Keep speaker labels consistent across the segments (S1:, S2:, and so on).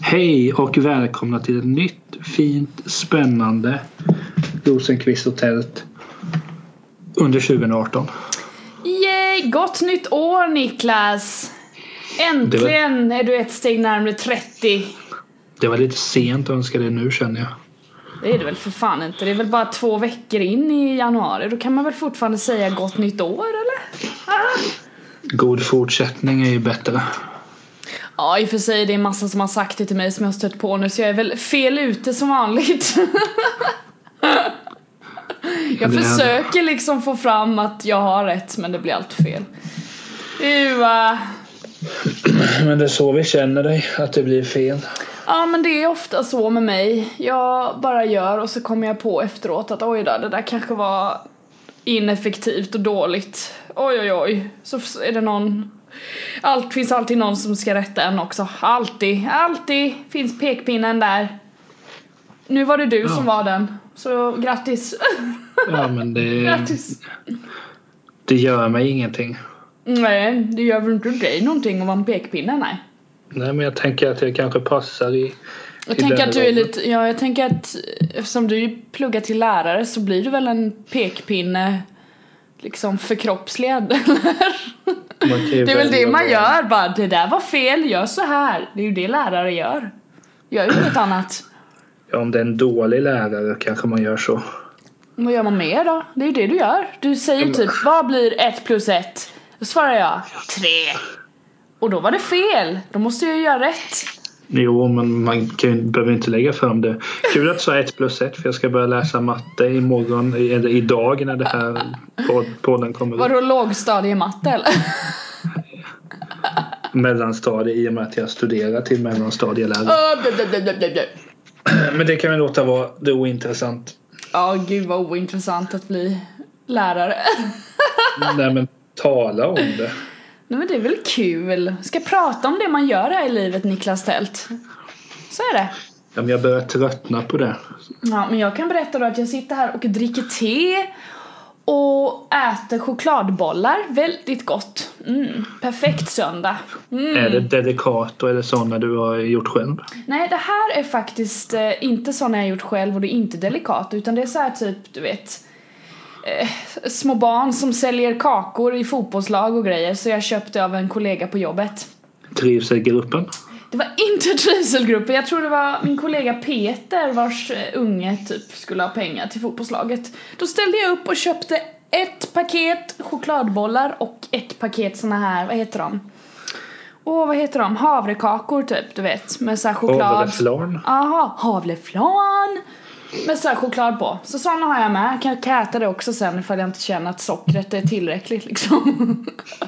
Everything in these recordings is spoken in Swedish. S1: Hej och välkomna till ett nytt fint spännande Rosenqvist och tält under 2018.
S2: Yay! Gott nytt år Niklas! Äntligen är du ett steg närmare 30.
S1: Det var lite sent att önska det nu känner jag.
S2: Det är det väl för fan inte. Det är väl bara två veckor in i januari. Då kan man väl fortfarande säga gott nytt år eller? Ah.
S1: God fortsättning är ju bättre.
S2: Ja i och för sig det är massa som har sagt det till mig som jag har stött på nu så jag är väl fel ute som vanligt. jag
S1: det är-
S2: försöker liksom få fram att jag har rätt men det blir allt fel. Ua.
S1: Men det är så vi känner dig, att det blir fel.
S2: Ja men det är ofta så med mig. Jag bara gör och så kommer jag på efteråt att oj då, det där kanske var ineffektivt och dåligt. Oj oj oj. Så f- är det någon... Allt finns alltid någon som ska rätta en också. Alltid, alltid finns pekpinnen där. Nu var det du som var den. Så grattis.
S1: Ja men det,
S2: grattis.
S1: det gör mig ingenting.
S2: Nej, det gör väl inte dig någonting att vara en pekpinne nej.
S1: Nej men jag tänker att det kanske passar i...
S2: Jag
S1: till
S2: tänker
S1: den
S2: att du är
S1: rollen.
S2: lite, ja jag tänker att eftersom du pluggar till lärare så blir du väl en pekpinne liksom förkroppsligad eller?
S1: Man kan ju
S2: Det är väl det
S1: välja
S2: man
S1: vad-
S2: gör bara, det där var fel, gör så här. Det är ju det lärare gör. Gör ju inget annat.
S1: Ja, om det är en dålig lärare kanske man gör så.
S2: Vad gör man mer då? Det är ju det du gör. Du säger typ, vad blir ett plus ett? Då svarar jag, tre. Och då var det fel, då måste jag ju göra rätt.
S1: Jo, men man kan, ju- behöver inte lägga fram det. Kul att du sa 1 plus 1 för jag ska börja läsa matte imorgon, i- eller idag när det här pod- podden kommer ut.
S2: Vadå lågstadiematte eller?
S1: Mellanstadie i och med att jag studerar till mellanstadielärare.
S2: Öh, blö, blö, blö, blö, blö, blö.
S1: Men det kan vi låta vara, det är ointressant.
S2: Ja, gud vad ointressant att bli lärare.
S1: Nej men tala om det.
S2: Nej men det är väl kul. Ska prata om det man gör här i livet Niklas Tält. Så är det.
S1: Ja, men jag börjar tröttna på det.
S2: Ja, men jag kan berätta då att jag sitter här och dricker te och äter chokladbollar. Väldigt gott. Mm, perfekt söndag. Mm.
S1: Är det dedikator eller sådana du har gjort själv?
S2: Nej, det här är faktiskt eh, inte såna jag gjort själv och det är inte delikat utan det är så här typ, du vet eh, små barn som säljer kakor i fotbollslag och grejer så jag köpte av en kollega på jobbet.
S1: Trivs i gruppen?
S2: Det var inte trivselgruppen, jag tror det var min kollega Peter vars eh, unge typ skulle ha pengar till fotbollslaget. Då ställde jag upp och köpte ett paket chokladbollar och ett paket såna här, vad heter de? Åh vad heter de? Havrekakor typ, du vet. Med så här choklad.
S1: Avleflarn?
S2: Aha, havleflan med så här choklad på. Så såna har jag med. Kan kan jag äta det också sen ifall jag inte känner att sockret är tillräckligt liksom.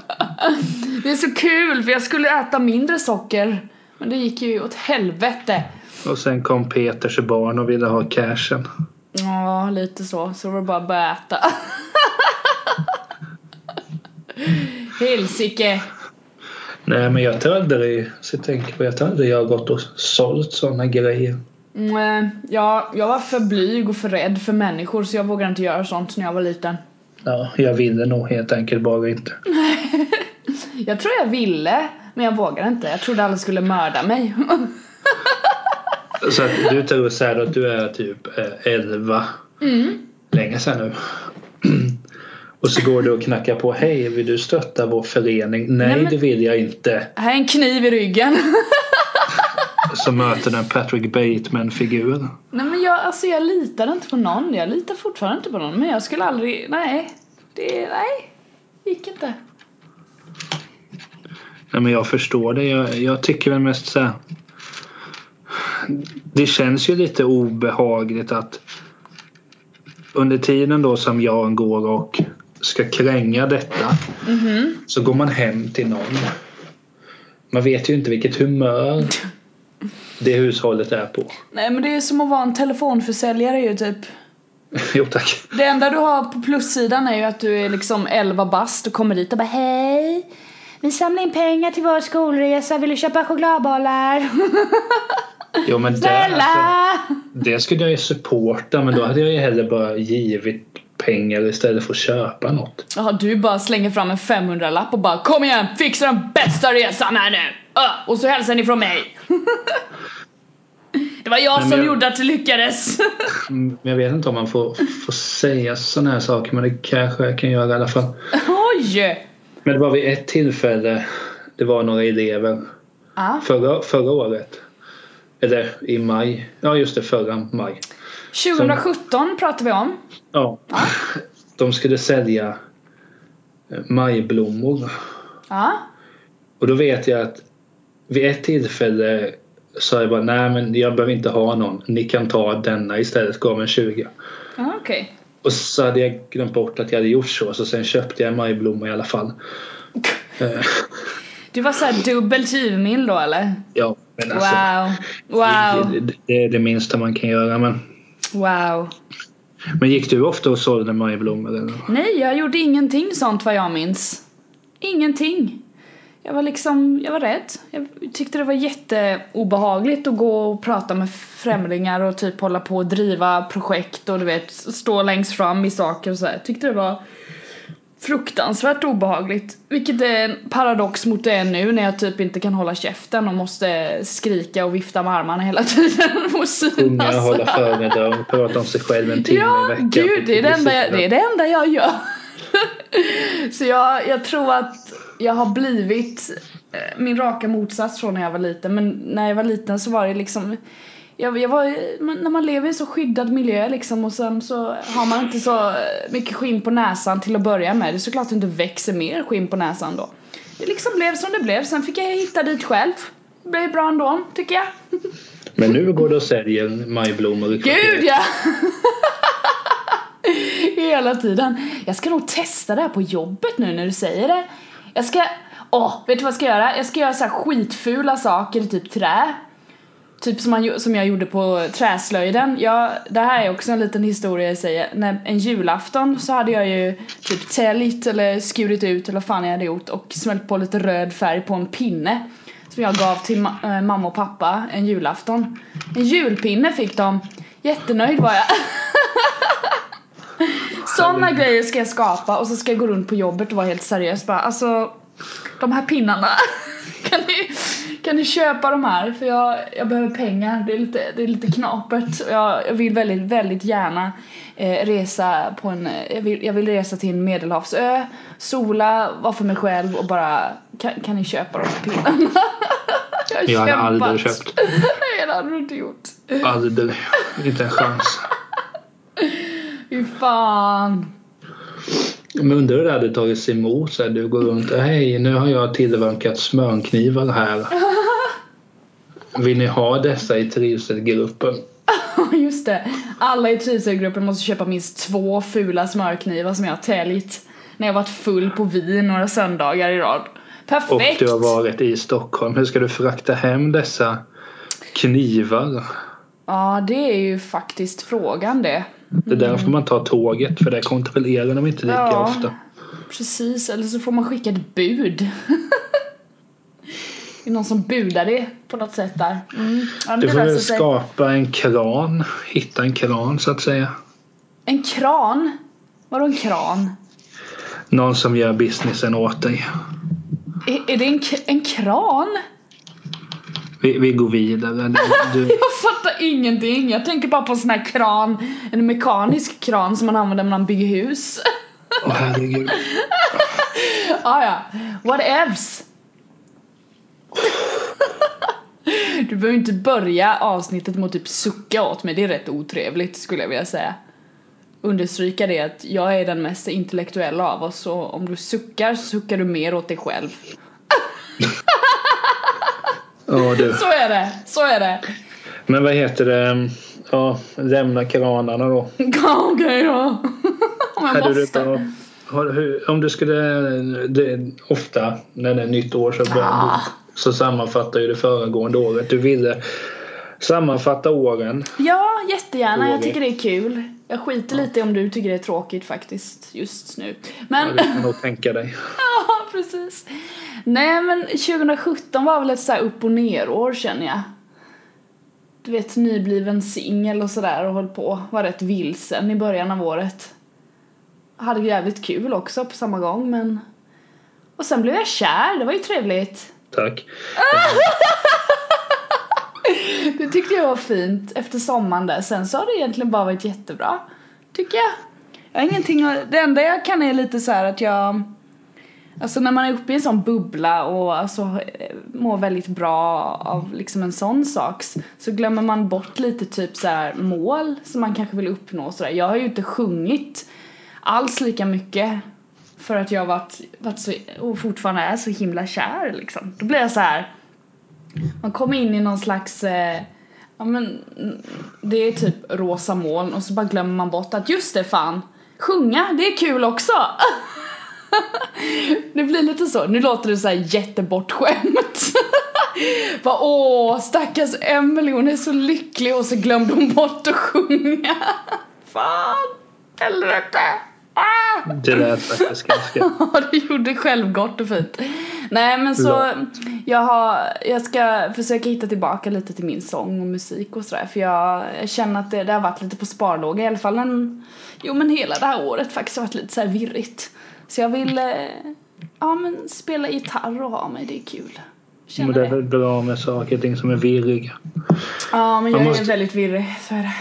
S2: det är så kul för jag skulle äta mindre socker. Men det gick ju åt helvete.
S1: Och sen kom Peters barn och ville ha cashen.
S2: Ja, lite så. Så var det bara att börja äta. Helsike.
S1: Nej men jag tror aldrig, så jag tänker på, jag tror aldrig jag har gått och sålt sådana grejer.
S2: Mm, ja, jag var för blyg och för rädd för människor så jag vågade inte göra sånt när jag var liten.
S1: Ja, jag ville nog helt enkelt bara inte.
S2: Jag tror jag ville, men jag vågade inte. Jag trodde alla skulle mörda mig.
S1: Så att du tror så här att du är typ eh, 11. Länge sedan nu. Och så går du och knackar på. Hej, vill du stötta vår förening? Nej,
S2: Nej, men-
S1: det vill jag inte.
S2: Här är en kniv i ryggen.
S1: Så möter den Patrick Bateman-figur.
S2: Nej men jag, alltså jag litade inte på någon. Jag litar fortfarande inte på någon. Men jag skulle aldrig, nej. Det, nej. Gick inte.
S1: Nej, men jag förstår det. Jag, jag tycker väl mest så här. Det känns ju lite obehagligt att under tiden då som jag går och ska kränga detta så går man hem till någon. Man vet ju inte vilket humör det hushållet är på.
S2: Nej men det är som att vara en telefonförsäljare ju typ.
S1: jo tack.
S2: Det enda du har på plussidan är ju att du är liksom 11 bast och kommer dit och bara hej. Vi samlar in pengar till vår skolresa, vill du köpa chokladbollar?
S1: Jo, men där, alltså,
S2: Snälla!
S1: det skulle jag ju supporta men då hade jag ju hellre bara givit pengar istället för att köpa något.
S2: Jaha, du bara slänger fram en 500-lapp och bara kom igen, fixa den bästa resan här nu! Ö, och så hälsar ni från mig! Det var jag
S1: men
S2: som
S1: jag-
S2: gjorde att det lyckades.
S1: Mm, Jag vet inte om man får, får säga sådana här saker men det kanske jag kan göra i alla fall.
S2: Oj!
S1: Men det var vid ett tillfälle det var några elever
S2: Ah,
S1: förra, förra året. Eller i maj. Ja just det, förra maj.
S2: 2017 pratar vi om.
S1: Ja. De skulle sälja eh, majblommor.
S2: Ja.
S1: Och då vet jag att vid ett tillfälle sa jag bara nej men jag behöver inte ha någon. Ni kan ta denna istället. Gav mig en 20.
S2: Ah, Okej.
S1: Och så hade jag glömt bort att jag hade gjort så. Så sen köpte jag en majblomma i alla fall. Eh,
S2: Du var såhär dubbelt givmild då eller?
S1: Ja men alltså.
S2: Wow. Wow.
S1: Det, det, det är det minsta man kan göra. Men,
S2: Wow.
S1: men gick du ofta och sålde majblommor? Eller?
S2: Nej, jag gjorde ingenting sånt vad jag minns. Ingenting. Jag var liksom, jag var rädd. Jag tyckte det var jätteobehagligt att gå och prata med främlingar och typ hålla på och driva projekt och du vet stå längst fram i saker och så här. Tyckte det var fruktansvärt obehagligt. Vilket är en paradox mot det nu när jag typ inte kan hålla käften och måste skrika och vifta med armarna hela tiden och
S1: Unga
S2: synas.
S1: hålla föredrag och prata om sig själv en timme i
S2: Ja,
S1: veckan.
S2: gud, det är det, enda jag, det är det enda jag gör. så jag, jag tror att jag har blivit eh, min raka motsats från när jag var liten. Men när jag var liten så var det liksom jag, jag var, man- när man lever i en så skyddad miljö liksom och sen så har man inte så eh, mycket skinn på näsan till att börja med. Det är såklart att det inte växer mer skinn på näsan då. Det liksom blev som det blev. Sen fick jag hitta dit själv. Det blev bra ändå, tycker jag.
S1: Men nu går du och säljer majblommor i
S2: Gud ja! Hela tiden. Jag ska nog testa det här på jobbet nu när du säger det. Jag ska, åh, vet du vad jag ska göra? Jag ska göra så här skitfula saker i typ trä. Typ som, man, gjo- som jag gjorde på träslöjden. Jag, det här är också en liten historia jag säger. När, en julafton så hade jag ju typ täljt eller skurit ut eller vad fan jag hade gjort och smält på lite röd färg på en pinne. Som jag gav till ma- eh, mamma och pappa en julafton. En julpinne fick de. Jättenöjd var jag. Sådana grejer ska jag skapa och så ska jag gå runt på jobbet och vara helt seriös bara alltså de här pinnarna kan ni, kan ni köpa de här för jag, jag behöver pengar det är lite, det är lite knapert och jag, jag vill väldigt väldigt gärna eh, resa på en eh, jag vill, jag vill resa till en medelhavsö sola vara för mig själv och bara kan, kan ni köpa de här pinnarna jag har
S1: Jag hade aldrig
S2: kämpat.
S1: köpt.
S2: nej det hade du inte gjort
S1: Aldrig. Inte en chans.
S2: fy fan
S1: Men undrar hur det hade tagits emot. Så här, du går runt. Hej, nu har jag tillverkat smörknivar här. Vill ni ha dessa i trivselgruppen?
S2: Just det. Alla i trivselgruppen måste köpa minst två fula smörknivar som jag har täljt när jag varit full på vin några söndagar i rad.
S1: Och
S2: Perfekt!
S1: du har varit i Stockholm. Hur ska du frakta hem dessa knivar?
S2: Ja, det är ju faktiskt frågan det.
S1: Det där får man ta tåget för där kontrollerar de inte lika
S2: Mm. Ja.
S1: ofta.
S2: Precis, eller så får man skicka ett bud. det är någon som budar det på något sätt där. Mm. Ja, men
S1: Du
S2: det
S1: får
S2: löser
S1: väl
S2: sig.
S1: skapa en kran. Hitta en kran så att säga.
S2: En kran? Vadå en kran?
S1: Någon som gör businessen åt dig.
S2: Är, är det en, k- en kran?
S1: Vi, vi går vidare. Du,
S2: Jag fattar ingenting. Jag tänker bara på en sån här kran, en mekanisk kran som man använder när man bygger hus.
S1: åh, herregud.
S2: ah, ja, what evs? Du behöver inte börja avsnittet med att typ sucka åt mig, det är rätt otrevligt skulle jag vilja säga. Understryka det att jag är den mest intellektuella av oss och om du suckar så suckar du mer åt dig själv.
S1: Ja, du.
S2: Så är det, så är det.
S1: Men vad heter det? Ja, lämna kranarna då.
S2: Ja, Okej då. Om jag
S1: Hade du
S2: måste.
S1: bra, har, hur, om du skulle... Det, ofta när det är nytt år så, börjar,
S2: Ah.
S1: så sammanfattar ju det föregående året. Du ville sammanfatta åren.
S2: Ja, jättegärna. Jag
S1: Roger.
S2: tycker det är kul. Jag skiter lite i om du tycker det är tråkigt faktiskt just nu. Men,
S1: Ja, det kan jag nog tänka dig.
S2: ja precis. Nej men 2017 var väl ett så här upp och ner-år känner jag. Du vet nybliven singel och sådär och höll på. Var rätt vilsen i början av året. Hade jävligt kul också på samma gång men. Och sen blev jag kär, det var ju trevligt.
S1: Tack.
S2: Det tyckte jag var fint efter sommaren där. Sen så har det egentligen bara varit jättebra. Tycker jag. Jag har ingenting att- Det enda jag kan är lite så här att jag... Alltså när man är uppe i en sån bubbla och alltså eh, mår väldigt bra av liksom en sån sak så glömmer man bort lite typ så här mål som man kanske vill uppnå och så där. Jag har ju inte sjungit alls lika mycket för att jag har varit, varit så, och fortfarande är så himla kär liksom. Då blir jag så här man kommer in i någon slags eh, Ja men mm, det är typ rosa moln och så bara glömmer man bort att just det fan Sjunga, det är kul också! det blir lite så, nu låter det så här jättebortskämt Bara åh stackars Emelie hon är så lycklig och så glömde hon bort att sjunga Fan! Helvete! Ah!
S1: Det lät faktiskt ganska...
S2: Ja, du gjorde självgott och fint. Nej men så
S1: Långt.
S2: jag, har, jag ska försöka hitta tillbaka lite till min sång och musik och sådär för jag, jag känner att det, det har varit lite på sparlåga i alla fall en, jo men hela det här året faktiskt har varit lite så här virrigt. Så jag vill eh, ja men spela gitarr och ha mig, det är kul. Känner
S1: Men det är
S2: det.
S1: väl bra med saker och ting som är virriga.
S2: Ja
S1: Man
S2: men jag är
S1: måste-
S2: väldigt virrig så är det.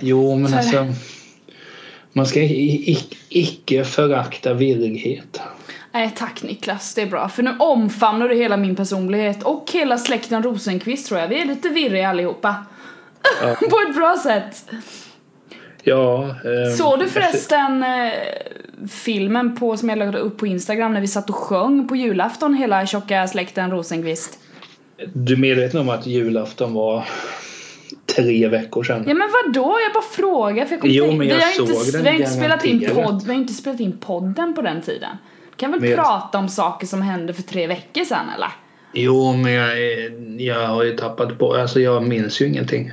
S1: Jo, men
S2: Så är det.
S1: alltså... Man ska i- i- icke förakta virrighet.
S2: Nej tack Niklas, det är bra. För nu omfamnar du hela min personlighet och hela släkten Rosenqvist tror jag. Vi är lite virriga allihopa.
S1: Ja.
S2: På ett bra sätt.
S1: Ja, ehm,
S2: Såg du
S1: efter-
S2: förresten eh, filmen på, som jag lade upp på Instagram när vi satt och sjöng på julafton hela tjocka släkten Rosenqvist?
S1: Du är medveten om att julafton var tre veckor sedan?
S2: Ja men vadå? Jag bara frågar för jag kommer
S1: Jo,
S2: tänka-
S1: men jag
S2: vi har inte,
S1: såg den
S2: vi har inte spelat in
S1: garanterat.
S2: podd, Vi har inte spelat in podden på den tiden. Vi kan väl
S1: Men jag-
S2: prata om saker som hände för tre veckor sedan eller?
S1: Jo, men jag, är- jag har ju tappat på... Alltså jag minns ju ingenting.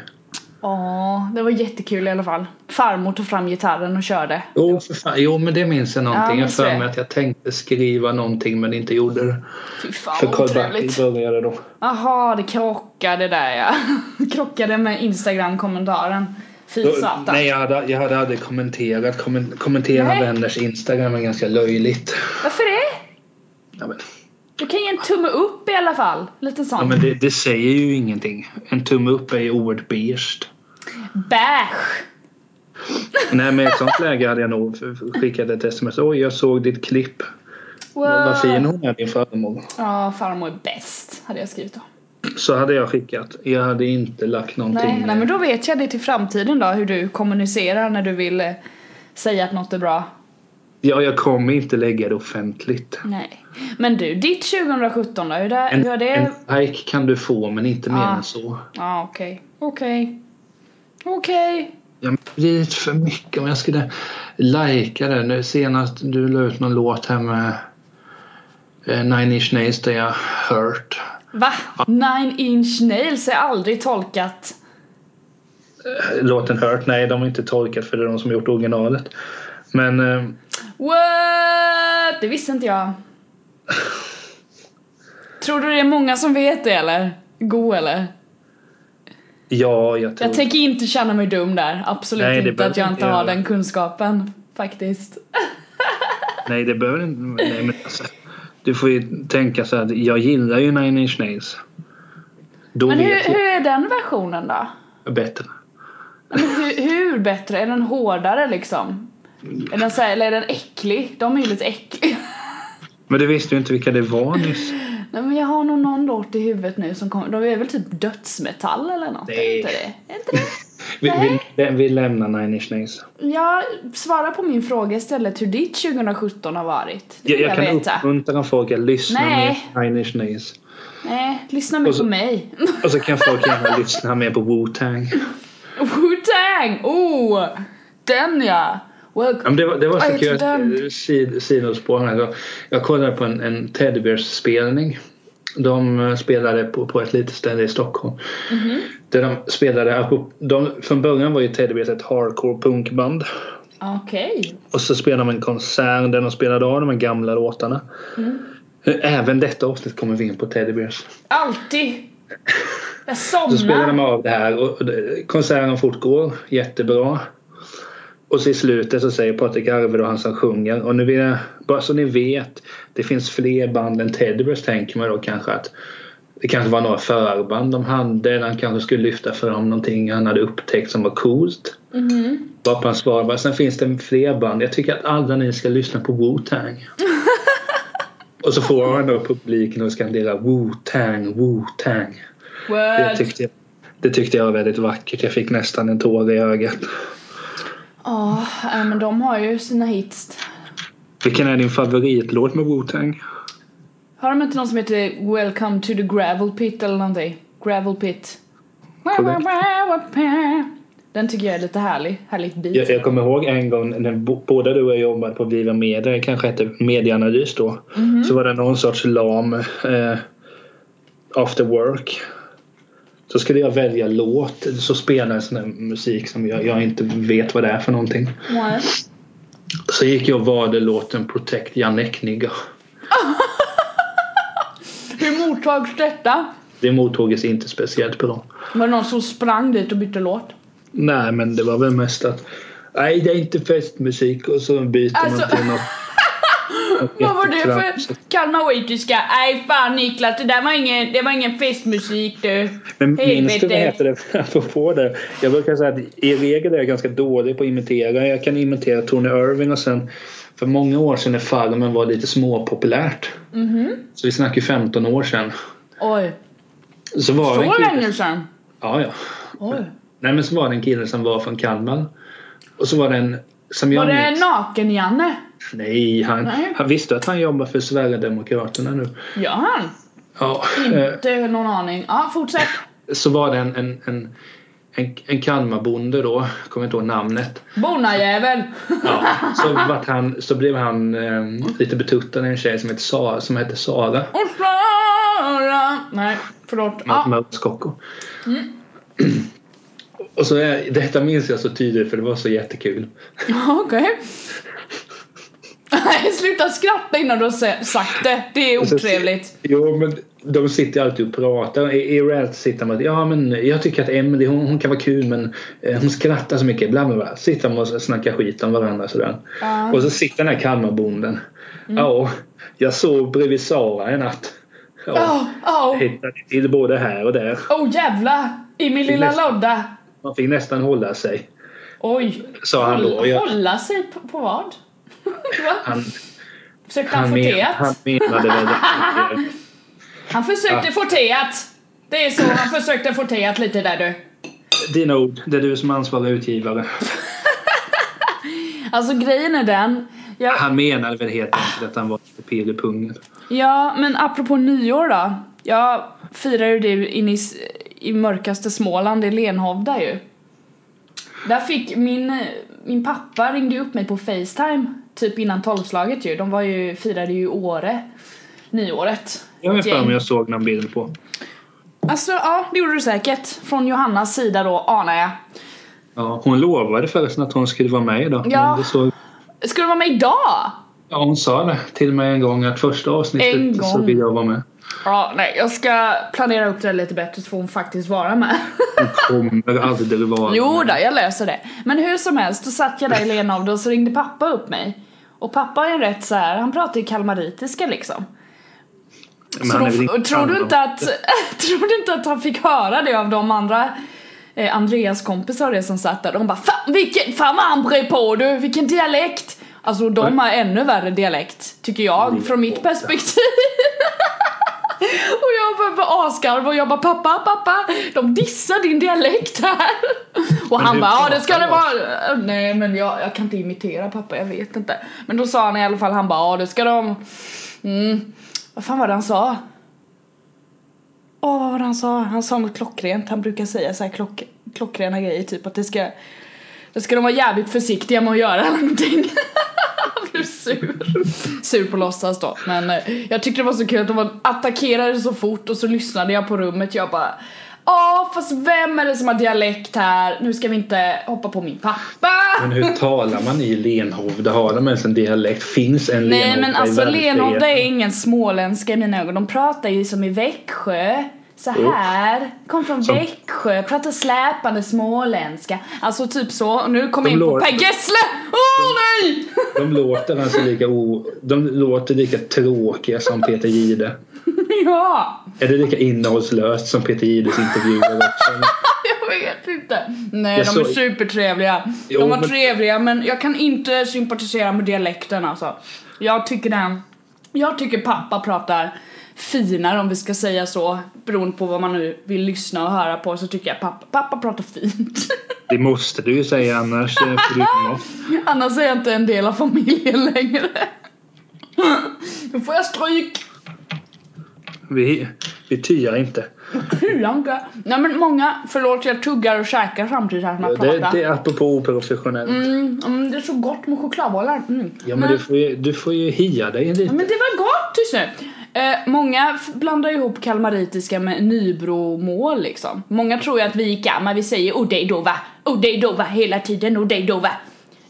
S2: Ja, det var jättekul i alla fall. Farmor tog fram gitarren och körde.
S1: Jo, för fan, jo men det minns jag någonting.
S2: Ja,
S1: jag
S2: minns
S1: för
S2: det.
S1: mig att jag tänkte skriva någonting men inte gjorde det.
S2: Fy fan
S1: För
S2: vad
S1: Karl Bertil
S2: otrevligt.
S1: började då.
S2: Jaha, det krockade där ja. krockade med Instagram-kommentaren. Fy
S1: då
S2: satan.
S1: nej, jag hade, jag hade aldrig kommenterat. Kommen, kommentera
S2: Nej.
S1: vänners Instagram är ganska löjligt.
S2: Varför det?
S1: Ja, men,
S2: Du kan ge en tumme upp i alla fall. Lite sån.
S1: ja, men det, det säger ju ingenting. En tumme upp är ju oerhört beige.
S2: Bäsch!
S1: Nej, men i ett sånt läge hade jag nog skickat ett sms. Oj, jag såg ditt klipp.
S2: Wow.
S1: Vad fin hon är, din farmor.
S2: Ja, farmor är bäst. Hade jag skrivit då.
S1: Så hade jag skickat. Jag hade inte lagt någonting.
S2: Nej, nej, men då vet jag det till framtiden då. Hur du kommunicerar när du vill eh, säga att något är bra.
S1: Ja, jag kommer inte lägga det offentligt.
S2: Nej. Men du, ditt 2017 då? Hur, det,
S1: En,
S2: hur har det...
S1: en like kan du få, men inte mer
S2: Ah.
S1: än så.
S2: Ja, okej. Okej. Okej.
S1: Ja, men Det blir lite för mycket om jag skulle lajka det. Nu Senast du la ut någon låt här med eh, Nine Inch Nails där jag hurt.
S2: Va? Nine inch nails är aldrig tolkat.
S1: Eh, Låten hurt? Nej, de har inte tolkat för det är de som gjort originalet. Men eh,
S2: What? Det visste inte jag. Tror du det är många som vet det eller? Go eller?
S1: ja, jag tror...
S2: Jag tänker inte känna mig dum där. Absolut
S1: Nej, det
S2: inte att jag
S1: behöver
S2: inte
S1: inte
S2: har
S1: göra.
S2: den kunskapen. Faktiskt.
S1: Nej, det behöver inte... Nej, men alltså, du får ju tänka så här, jag gillar ju Nine Inch Nails. Då
S2: Men hur,
S1: vet
S2: hur är den versionen då?
S1: jag bättre.
S2: Men hur, hur bättre? Är den hårdare liksom? Är den så här, eller är den äcklig? De är ju lite äckliga.
S1: Men du visste ju inte vilka det var nyss.
S2: Nej men jag har nog någon låt i huvudet nu som kommer. De är väl typ dödsmetall eller något?
S1: Nej.
S2: Är det inte det? Är det inte det?
S1: Vi, vi, vi lämnar Nine Inch Nails.
S2: Jag svarar på min fråga istället hur ditt 2017 har varit. Det
S1: Jag,
S2: vill
S1: jag
S2: jag,
S1: kan Mm.
S2: veta.
S1: uppmuntra folk att lyssna
S2: Nej.
S1: mer på Nine Inch Nails.
S2: Nej, lyssna mer
S1: Och så-
S2: på mig.
S1: Och så kan folk gärna lyssna mer på Wu-Tang. Ja,
S2: Wu-Tang! Oh! Den ja! Welcome.
S1: men det var, det var
S2: Ja, jag
S1: så
S2: tror
S1: kul.
S2: den.
S1: eh, sid- Sidospår här. Jag- Jag kollade på en, en Teddybears-spelning. De eh, spelade på, på ett litet ställe i Stockholm. Där de spelade, apropå- de, från början var ju Teddybears ett hardcore punkband.
S2: Okej.
S1: Och så spelade de en konsert där de spelade av de här gamla låtarna. Även detta avsnitt kommer vi in på Teddybears.
S2: Alltid! Jag
S1: Så spelar de
S2: somnar.
S1: av det här och och det- konserten fortgår jättebra. Och så i slutet så säger Patrik Arvid och han som sjunger och nu vill jag, bara så ni vet det finns fler band än Teddybears tänker man då kanske att Det kanske var några förband de hade eller han kanske skulle lyfta för dem någonting han hade upptäckt som var coolt.
S2: Mhm.
S1: Vapan svarade sen finns det fler band. Jag tycker att alla ni ska lyssna på Wu-Tang. och så får han då publiken och skanderar Wu-Tang, Wu-Tang. Det
S2: Word.
S1: tyckte, jag, det tyckte jag var väldigt vackert. Jag fick nästan en tår i ögat.
S2: Ja, nej, men de har ju sina hits.
S1: Vilken är din favoritlåt med Wu-Tang?
S2: Har de inte någon som heter Welcome to the Gravel Pit eller någonting? Gravel Pit.
S1: Korrekt.
S2: Den tycker jag är lite härlig. Härligt beat.
S1: Jag, jag kommer ihåg en gång när bo- båda du och jag jobbade på Viva Media, det kanske hette Medieanalys då. Så var det någon sorts lam eh, after work. Så skulle jag välja låt, så spelade en sån där musik som jag, jag inte vet vad det är för någonting.
S2: Nej.
S1: Så gick jag och valde låten Protect Jannek Nigga.
S2: Hur mottags detta?
S1: Det mottogs inte speciellt bra.
S2: Var det någon som sprang dit och bytte låt?
S1: Nej men det var väl mest att Nej det är inte festmusik och så byter
S2: Alltså-
S1: man till något. något
S2: Vad var det för
S1: jättetramsigt.
S2: kalmaritiska? Nej fan Niklas, det där var ingen, det var ingen festmusik du.
S1: Men
S2: Hej,
S1: minns du vad
S2: Peter.
S1: heter det apropå det? Jag brukar säga att i regel är jag ganska dålig på att imitera. Jag kan imitera Tony Irving och sen för många år sedan när Farmen var lite småpopulärt. Så vi snackar ju 15 år sedan.
S2: Mhm. Oj,
S1: Så var
S2: så
S1: det en kille-
S2: länge sedan?
S1: Ja, ja.
S2: Oj.
S1: Nej men så var det en kille som var från Kalmar. Och så var det en som jag
S2: Var det
S1: minns-
S2: Naken-Janne?
S1: Nej, han,
S2: Nej.
S1: han visste att han jobbar för Sverigedemokraterna nu.
S2: Gör han?
S1: Ja, eh,
S2: Inte någon aning. Ja, fortsätt.
S1: så var det en, en, en, en, en Kalmarbonde då, jag kommer inte ihåg namnet.
S2: Bonajävel!
S1: Ja, så, vart han, så blev han eh, lite betuttad av en tjej som hette Sara. Som hette Sara
S2: Och Sara! Nej, förlåt. Ah,
S1: ja. Mm.
S2: Ja,
S1: Och så är, detta minns jag så tydligt för det var så jättekul.
S2: okej. Nej, sluta skratta innan du har se- sagt det. Det är
S1: Och så-
S2: otrevligt.
S1: Jo, men de sitter ju alltid och pratar. I, i Rant sitter man ja men jag tycker att Emily hon, hon kan vara kul men eh, hon skrattar så mycket. Bla, bla, bla. Sitter man och snackar skit om varandra sådär.
S2: Ja. Mm.
S1: Och så sitter den här Kalmarbonden. Ja, jag sov bredvid Sara en natt. Ja,
S2: Åh, åh.
S1: hittade till både här och där.
S2: Åh Ah, Oh, jävlar! I min lilla
S1: nästan-
S2: lodda.
S1: Man fick nästan hålla sig.
S2: Oj.
S1: Sa han då. Jag,
S2: Hålla sig på, på vad? Va?
S1: han,
S2: försökte han,
S1: han,
S2: få
S1: men,
S2: teet?
S1: han
S2: Han,
S1: menade väl
S2: försökte
S1: Ja.
S2: få teet! Det är så, han försökte få teet lite där du.
S1: Dina ord, det är du som ansvarar utgivare.
S2: Alltså grejen är den. Jag,
S1: Han menade väl helt enkelt att han var lite pirr i pungen.
S2: ja, men apropå nyår då. Jag firar ju det in i, s- i mörkaste Småland, i Lenhovda ju. Där fick min, min pappa ringde upp mig på Facetime typ innan tolvslaget ju. De var ju, firade ju i Åre, nyåret.
S1: Jag vet inte
S2: Gäng.
S1: om jag såg någon bild på.
S2: Alltså ja, det gjorde du säkert. Från Johannas sida då, anar jag.
S1: Ja, hon lovade förresten att hon skulle vara med idag.
S2: Ja.
S1: Men det såg,
S2: Ska du vara med idag?
S1: ja, hon sa det till mig en gång att första avsnittet
S2: En
S1: så
S2: gång.
S1: vill jag vara med.
S2: Ja, nej, jag ska planera upp det lite bättre så får hon faktiskt vara med.
S1: Kommer aldrig vara
S2: jo
S1: med.
S2: då, jag löser det. Men hur som helst, då satt jag där i Lenhovda och så ringde pappa upp mig. Och pappa är rätt så här, han pratar ju kalmaritiska liksom.
S1: Men
S2: Så
S1: han är väl
S2: då, och tror, du
S1: kalmar.
S2: inte att, tror du inte att han fick höra det av de andra eh, Andreas kompisar och det som satt där? De bara fan vilken, fan vad han brer på du, vilken dialekt! Alltså de har ännu värre dialekt, tycker
S1: Mm.
S2: jag, från mitt perspektiv. och jag bara på asgarv och jag bara pappa, pappa, de dissar din dialekt här. Och
S1: Men
S2: han
S1: hur
S2: bara ja det ska
S1: pratar
S2: det vara. Eh, Nej men jag, jag kan inte imitera pappa, jag vet inte. Men då sa han i alla fall, han bara ja det ska de. Mm. Vad fan var det han sa? Åh vad var det han sa? Han sa något klockrent. Han brukar säga så här klock, klockrena grejer typ att det ska det ska de vara jävligt försiktiga med att göra någonting. Han blev sur. Sur på låtsas då. Men eh, jag tyckte det var så kul att de var attackerade så fort och så lyssnade jag på rummet. Jag bara Ja fast vem är det som har dialekt här? Nu ska vi inte hoppa på min pappa.
S1: Men hur talar man i Lenhovda? Har de ens en dialekt? Finns en
S2: Nej
S1: Lenhovda
S2: men
S1: i
S2: alltså
S1: verkligheten?
S2: Lenhovda är ingen småländska i mina ögon. De pratar ju som i Växjö. Så här. Kom från
S1: Som-
S2: Växjö. Pratar släpande småländska. Alltså typ så. Och nu kommer jag in på
S1: låter-
S2: Per Gessle! Åh oh, nej!
S1: De låter alltså lika o... De låter lika tråkiga som Peter Gide.
S2: ja!
S1: Är det lika innehållslöst som Peter Jihdes intervjuer också? eller?
S2: Jag vet inte. Nej,
S1: Jag
S2: de är
S1: såg-
S2: supertrevliga.
S1: Jo,
S2: de var
S1: men-
S2: trevliga men jag kan inte sympatisera med dialekten alltså. Jag tycker den... Jag tycker pappa pratar finare om vi ska säga så beroende på vad man nu vill lyssna och höra på så tycker jag pappa, pappa pratar fint.
S1: Det måste du ju säga annars. eh, får du inte något.
S2: Annars är jag inte en del av familjen längre. Då får jag stryk.
S1: Vi, vi tyar inte.
S2: Kulanka. Nej men många, förlåt jag tuggar och käkar samtidigt här som jag
S1: Det,
S2: pratar.
S1: det är apropå oprofessionellt.
S2: Mm, mm, det är så gott med chokladbollar. Mm.
S1: Ja, men du får, ju, du får ju hia dig lite.
S2: Men det var gott, tyst nu! Eh, många f- blandar ihop kalmaritiska med nybromål liksom. Många tror ju att vi i Kalmar vi säger odejdova, odejdova hela tiden, odejdova.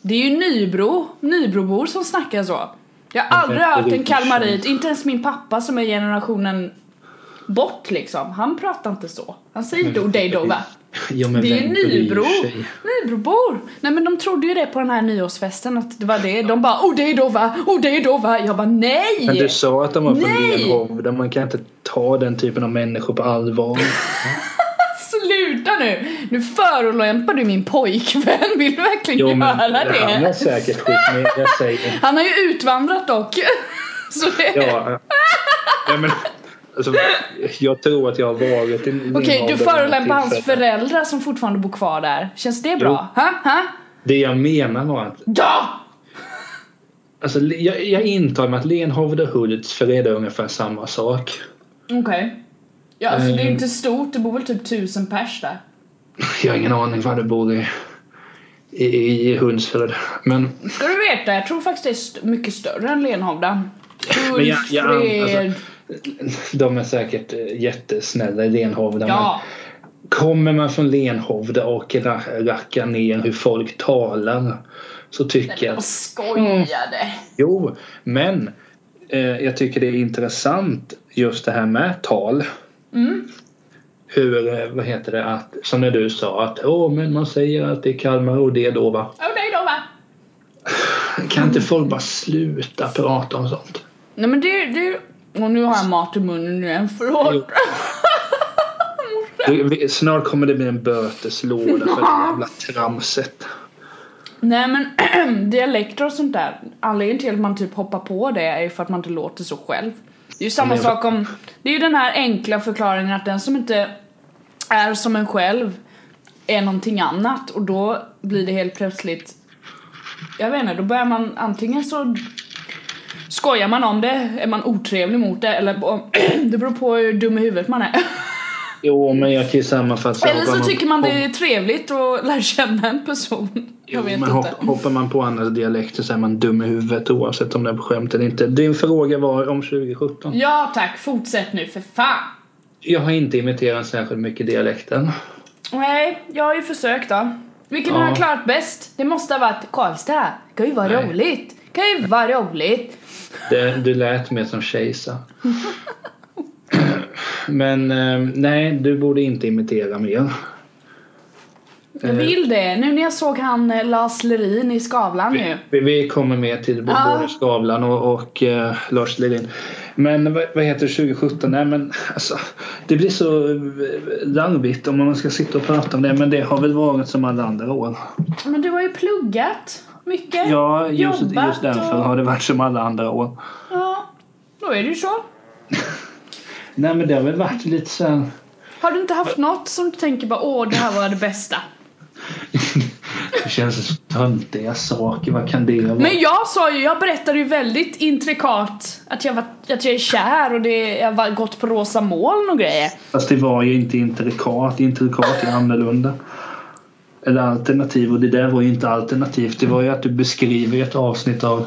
S2: Det är ju nybro, nybrobor som snackar så. Jag har aldrig
S1: det är
S2: hört en
S1: inte sant.
S2: kalmarit, inte ens min pappa som är generationen bort liksom. Han pratar inte så. Han säger inte odejdova.
S1: Ja, men
S2: Det är ju
S1: vem bryr
S2: Nybro.
S1: sig?
S2: Nybrobor! Nej men de trodde ju det på den här nyårsfesten att det var det. De bara oh det är Dova, oh det är Dova. Jag bara nej!
S1: Men du sa att de var från
S2: Nej!
S1: Lenhovda. Man kan inte ta den typen av människor på allvar.
S2: Sluta nu! Nu förolämpar du min pojkvän. Vill du verkligen
S1: Jo, men
S2: göra
S1: han har
S2: det?
S1: säkert skit med. Jag säger
S2: Han har ju utvandrat dock. Så det...
S1: ja. ja men, alltså, jag tror att jag har varit i Lenhovda
S2: Okej,
S1: vid något
S2: du förolämpar hans
S1: tillfälle.
S2: föräldrar som fortfarande bor kvar där. Känns det bra? Ha? Ha?
S1: Det jag menar var att
S2: Ja!
S1: alltså, jag, jag intar mig att Lenhovda och Hultsfred är ungefär samma sak.
S2: Okej. Ja, alltså det är
S1: Ehm.
S2: inte stort. Det bor väl typ tusen pers där.
S1: Jag har ingen aning var det bor i, i, i Hultsfred. Men
S2: Ska du veta, jag tror faktiskt det är st- mycket större än Lenhovda.
S1: Men jag- jag- alltså,
S2: Hultsfred.
S1: de är säkert eh, jättesnälla i Lenhovda.
S2: Ja,
S1: Men kommer man från Lenhovda och ra- rackar ner hur folk talar så tycker jag
S2: jag skojade.
S1: Jo, men eh, jag tycker det är intressant just det här med tal.
S2: Mm.
S1: Hur, eh, vad heter det, att, som när du sa att åh, men man säger att det är Kalmar och det då va.
S2: Åh nej då va?
S1: Kan
S2: Mm.
S1: inte folk bara sluta prata om sånt?
S2: Nej men det, det... Och nu har jag mat i munnen igen, förlåt.
S1: Du, vi, snart kommer det bli en böteslåda för det jävla tramset.
S2: Nej men dialekter och sånt där. Anledningen till att man typ hoppar på det är ju för att man inte låter så själv. Det är ju samma
S1: Men jag-
S2: sak om... Det är ju den här enkla förklaringen att den som inte är som en själv är någonting annat och då blir det helt plötsligt... Jag vet inte, då börjar man antingen så skojar man om det, är man otrevlig mot det eller det beror på hur dum i huvudet man är.
S1: Jo, men jag kan ju sammanfatta.
S2: Eller så
S1: Hoppar
S2: tycker man
S1: på-
S2: det är trevligt och lär känna en person. Jag vet
S1: Jo,
S2: inte.
S1: men hopp, hoppar man på andras dialekter så är man dum i huvudet oavsett om det är på skämt eller inte. Din fråga var om 2017.
S2: Ja tack, fortsätt nu för fan.
S1: Jag har inte imiterat särskilt mycket dialekten.
S2: Nej, jag har ju försökt då. Vilken har
S1: Ja.
S2: jag klarat bäst? Det måste ha varit Karlstad. Kan ju vara
S1: Nej.
S2: roligt. Kan ju vara roligt.
S1: Det, du lät mer som kejsar. Men eh, nej, du borde inte imitera mer. Eh.
S2: Jag vill det. Nu när jag såg han eh, Lars Lerin i Skavlan nu.
S1: Vi, vi kommer med till både
S2: Ja.
S1: Skavlan och, och eh, Lars Lerin. Men vad, vad heter det, 2017? Nej, men alltså, det blir så eh, larvigt om man ska sitta och prata om det. Men det har väl varit som alla andra år.
S2: Men du har ju pluggat mycket.
S1: Ja, just,
S2: jobbat
S1: just därför
S2: och-
S1: har det varit som alla andra år.
S2: ja. Då är det ju så.
S1: Nej, men det har väl varit lite så här...
S2: Har du inte haft något som du tänker bara åh det här var det bästa?
S1: Det känns som töntiga saker. Vad kan det vara?
S2: Men jag sa ju, jag berättade ju väldigt intrikat att jag, var, att jag är kär och det, jag har gått på rosa moln och grejer.
S1: Fast det var ju inte intrikat. Intrikat är annorlunda. Eller alternativ. Och det där var ju inte alternativt. Det var ju att du beskriver ett avsnitt av...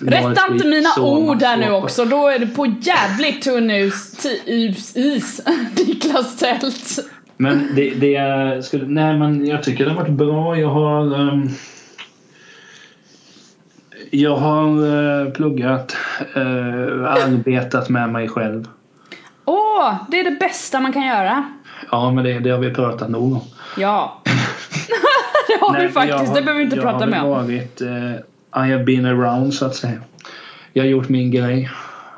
S2: Rätta inte mina
S1: Sommarsåpa.
S2: ord här nu också, då är det på jävligt tunn us, ti, is, is Niklas tält.
S1: Men det, det är, skulle, nej men jag tycker det har varit bra. Jag har ehm, Jag har eh, pluggat, eh, arbetat med mig själv.
S2: Åh, det är det bästa man kan göra.
S1: Ja men det, det har vi pratat nog om.
S2: Ja. det har
S1: Nej,
S2: vi faktiskt,
S1: jag har-
S2: det behöver vi inte
S1: jag
S2: prata mer
S1: har
S2: om.
S1: väl varit, eh, I have been around så att säga. Jag har gjort min grej.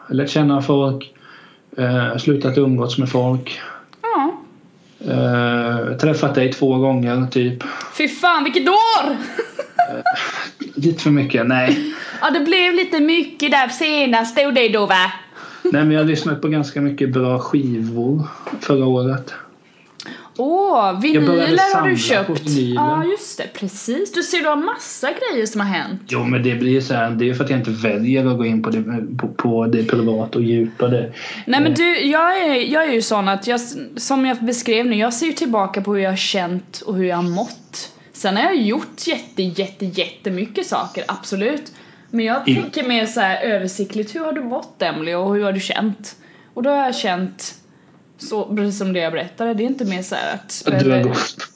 S1: lärt känna folk, eh, slutat umgås med folk.
S2: Ja.
S1: Eh, träffat dig två gånger typ.
S2: Fy fan vilket år!
S1: Lite för mycket, nej.
S2: Ja det blev lite mycket där senast, stod det då va?
S1: nej men jag har lyssnat på ganska mycket bra skivor förra året.
S2: Åh,
S1: började
S2: vinyler har
S1: samla
S2: du
S1: på
S2: köpt.
S1: vinyler.
S2: Ja just det, precis. Du ser du har massa grejer som har hänt.
S1: Jo men det blir ju så här, det är ju för att jag inte väljer att gå in på det, på, på det privata och djupare.
S2: Nej
S1: Eh.
S2: men du, jag är, jag är ju sån att jag, som jag beskrev nu, jag ser ju tillbaka på hur jag har känt och hur jag har mått. Sen har jag gjort jätte, jätte, jättemycket saker, absolut. Men jag
S1: Mm.
S2: tänker mer så här översiktligt, hur har du mått Emily och hur har du känt? Och då har jag känt, så, precis som det jag berättade, det är inte mer så här att...
S1: Att du har gått.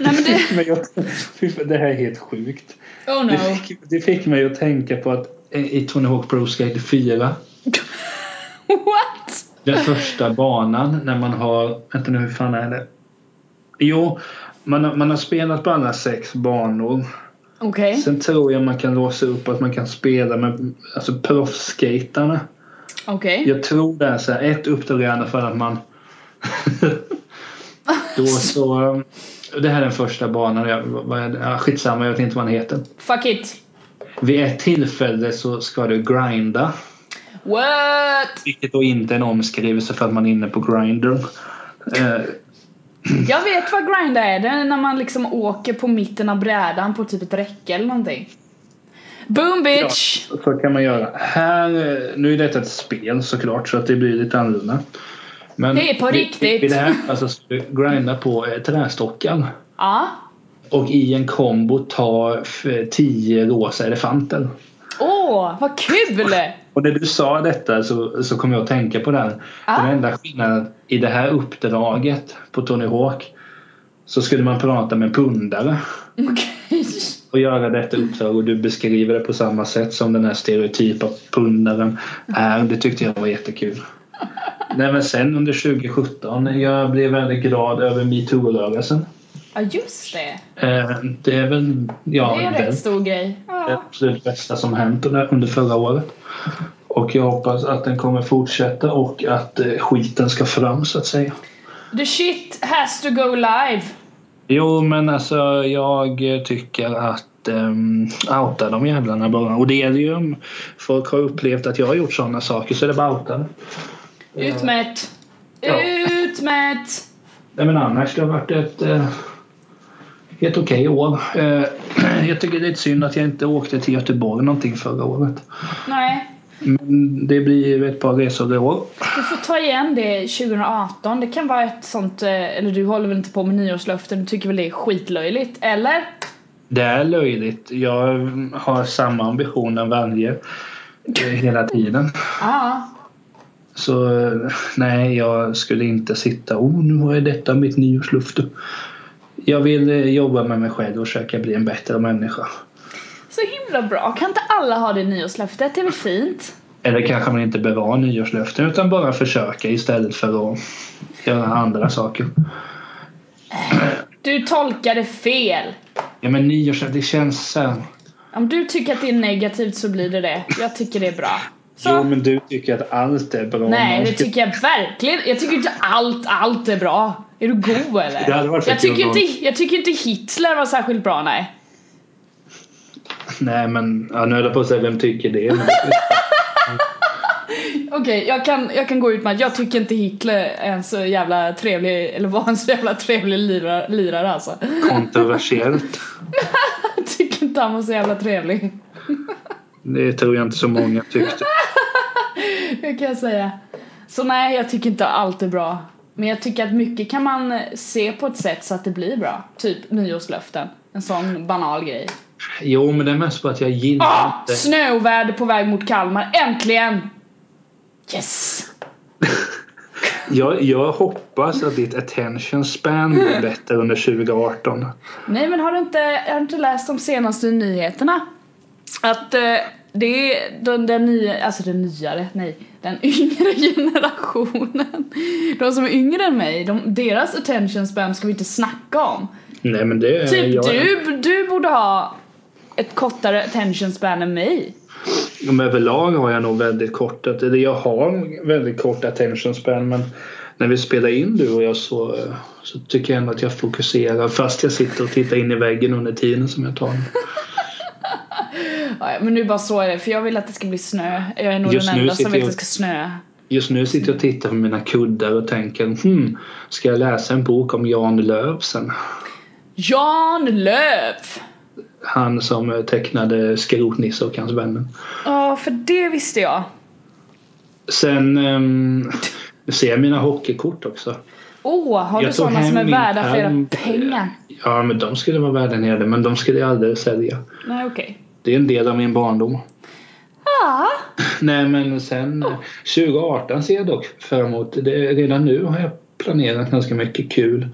S2: Nej men det...
S1: Men jag, fy fan, det här är helt sjukt.
S2: Oh
S1: Det
S2: no.
S1: fick, det fick mig att tänka på att i Tony Hawk Pro Skate 4,
S2: What?
S1: den första banan när man har, vänta nu hur fan är det? Jo, man, har- man har spelat på alla sex banor.
S2: Okej.
S1: Sen tror jag man kan låsa upp att man kan spela med alltså proffsskaterna.
S2: Okej.
S1: Jag tror det är så här, ett uppdrag i alla fall att man... då så... um, Det här är den första banan. Jag, vad är det? Ja, skitsamma, jag vet inte vad den heter.
S2: Fuck it.
S1: Vid ett tillfälle så ska du grinda.
S2: What?
S1: Vilket då inte är en omskrivelse för att man är inne på grinder. Eh,
S2: Jag vet vad grinda är. Det är när man liksom åker på mitten av brädan på typ ett räcke eller någonting. Boom bitch!
S1: så kan man göra. Här, eh, nu är detta ett spel såklart så att det blir lite annorlunda. Men
S2: Det är på
S1: vid-
S2: riktigt.
S1: Vid det här alltså, ska du grinda på eh, trästockar.
S2: Ja.
S1: Och i en kombo ta f- 10 rosa elefanter.
S2: Åh, vad kul!
S1: Och när du sa detta så, så kom jag att tänka på den.
S2: Ah.
S1: Den enda skillnaden i det här uppdraget på Tony Hawk så skulle man prata med en pundare
S2: Okej.
S1: och göra detta uppdrag och du beskriver det på samma sätt som den här stereotypa pundaren är. Det tyckte jag var jättekul. Nej men sen under 2017, jag blev väldigt glad över metoo-rörelsen.
S2: Ja, just det.
S1: Eh, Det är väl, ja,
S2: Det är en
S1: den-
S2: rätt stor grej.
S1: det
S2: Ja.
S1: absolut bästa som hänt under, under förra året. Och jag hoppas att den kommer fortsätta och att eh, skiten ska fram så att säga.
S2: The shit has to go live.
S1: Jo men alltså jag eh, tycker att um, outa de jävlarna bara. Och det gäller ju om folk har upplevt att jag har gjort sådana saker så är det bara outa dem.
S2: Utmätt.
S1: Ja.
S2: Utmätt!
S1: Nej men annars det har varit ett eh, helt okej år. Eh, jag tycker det är lite synd att jag inte åkte till Göteborg någonting förra året.
S2: Nej.
S1: Men det blir ju ett par resor i år.
S2: Du får ta igen det 2018. Det kan vara ett sånt, eh, eller du håller väl inte på med nyårslöften, du tycker väl det är skitlöjligt, eller?
S1: Det är löjligt. Jag har samma ambitioner varje eh, hela tiden.
S2: Ja.
S1: Så eh, nej, jag skulle inte sitta oh nu har jag detta mitt nyårslöfte. Jag vill eh, jobba med mig själv och försöka bli en bättre människa.
S2: Så himla bra. Kan inte alla ha det nyårslöftet? Det är väl fint?
S1: Eller kanske man inte behöver ha nyårslöften utan bara försöka istället för att göra andra saker.
S2: Du tolkade fel.
S1: Ja men nyårslöften, det känns så här.
S2: Om du tycker att det är negativt så blir det det. Jag tycker det är bra. Så.
S1: Jo men du tycker att allt är bra.
S2: Nej,
S1: Man
S2: det
S1: ska-
S2: tycker jag verkligen Jag tycker inte allt, allt är bra. Är du god eller?
S1: Det hade varit
S2: jag,
S1: fett kul
S2: tycker
S1: om-
S2: inte, jag tycker inte Hitler var särskilt bra, nej.
S1: Nej men, ja, nu höll jag på att säga vem tycker det? Men...
S2: Okej, jag, kan, jag kan gå ut med att jag tycker inte Hitler är en så jävla trevlig, eller var en så jävla trevlig lirare, lirare alltså.
S1: kontroversiellt.
S2: Jag tycker inte han var så jävla trevlig.
S1: Det tror jag inte så många tyckte.
S2: Det kan jag säga. Så nej, jag tycker inte allt är bra. Men jag tycker att mycket kan man se på ett sätt så att det blir bra. Typ nyårslöften. En sån banal grej.
S1: Jo, men det är mest för att jag gillar
S2: Ah!
S1: inte...
S2: Snöoväder på väg mot Kalmar. Äntligen! Yes!
S1: Jag, jag hoppas att ditt attention span
S2: Mm.
S1: blir bättre under 2018.
S2: Nej men har du inte, har du inte läst de senaste nyheterna? Att eh, det är den, den nya, alltså den nyare, nej, den yngre generationen. De som är yngre än mig, de, deras attention spam ska vi inte snacka om.
S1: Nej, men det...
S2: Typ
S1: jag,
S2: du, du borde ha ett kortare attention span än mig.
S1: Men överlag har jag nog väldigt kort, eller jag har väldigt kort attention span men när vi spelar in du och jag så, så tycker jag ändå att jag fokuserar fast jag sitter och tittar in i väggen under tiden som jag tar den.
S2: Ja, men nu bara så är det, för jag vill att det ska bli snö. Jag är nog
S1: Just
S2: den
S1: nu
S2: enda som
S1: sitter
S2: vill att
S1: jag-
S2: det ska snö.
S1: Just nu sitter jag och tittar på mina kuddar och tänker hmm, ska jag läsa en bok om Jan Löfsen?
S2: Jan Löf!
S1: Han som eh, tecknade Skrotnisse och hans vänner.
S2: Ja, för det visste jag.
S1: Sen ehm, nu ser jag mina hockeykort också.
S2: Åh, har
S1: Jag
S2: du
S1: tog
S2: sådana
S1: hem
S2: som är
S1: min
S2: värda flera
S1: pärm.
S2: pengar?
S1: Ja men de skulle vara värda nere men de skulle jag aldrig sälja.
S2: Nej, okej.
S1: Det är en del av min barndom.
S2: Ah,
S1: Nej men sen eh, 2018 ser jag dock fram emot. Det, redan nu har jag planerat ganska mycket kul.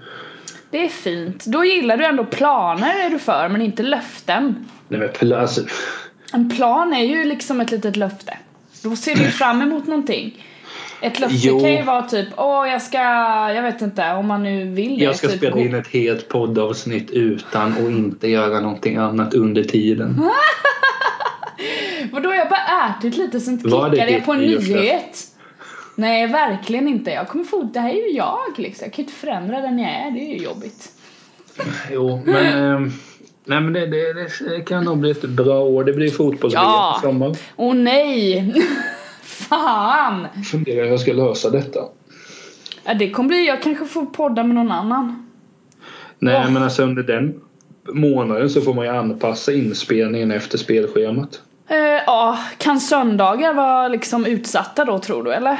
S2: det är fint. Då gillar du ändå planer är du för, men inte löften.
S1: Nej men pl- alltså,
S2: En plan är ju liksom ett litet löfte. Då ser du ju fram emot någonting. Ett löfte
S1: Jo.
S2: kan ju vara typ, åh jag ska, jag vet inte, om man nu vill det.
S1: jag ska
S2: typ,
S1: spela
S2: gå-
S1: in ett helt poddavsnitt utan och inte göra någonting annat under tiden.
S2: Vadå, jag har bara ätit lite sen
S1: Var det
S2: klickade jag
S1: ditt
S2: på en
S1: nyårslöfte?
S2: nyhet. Nej, verkligen inte. Jag kommer få, det här är ju jag liksom. Jag kan ju inte förändra den jag är, det är ju jobbigt.
S1: Jo men, ehm, nej, men det, det, det kan nog bli ett bra år. Det blir fotbolls
S2: Ja.
S1: i sommar.
S2: Åh nej! Fan!
S1: Funderar hur jag ska lösa detta.
S2: Ja, det kommer bli, jag kanske får podda med någon annan.
S1: Nej
S2: Åh.
S1: men alltså under den månaden så får man ju anpassa inspelningen efter spelschemat.
S2: Eh, Ja, kan söndagar vara liksom utsatta då tror du eller?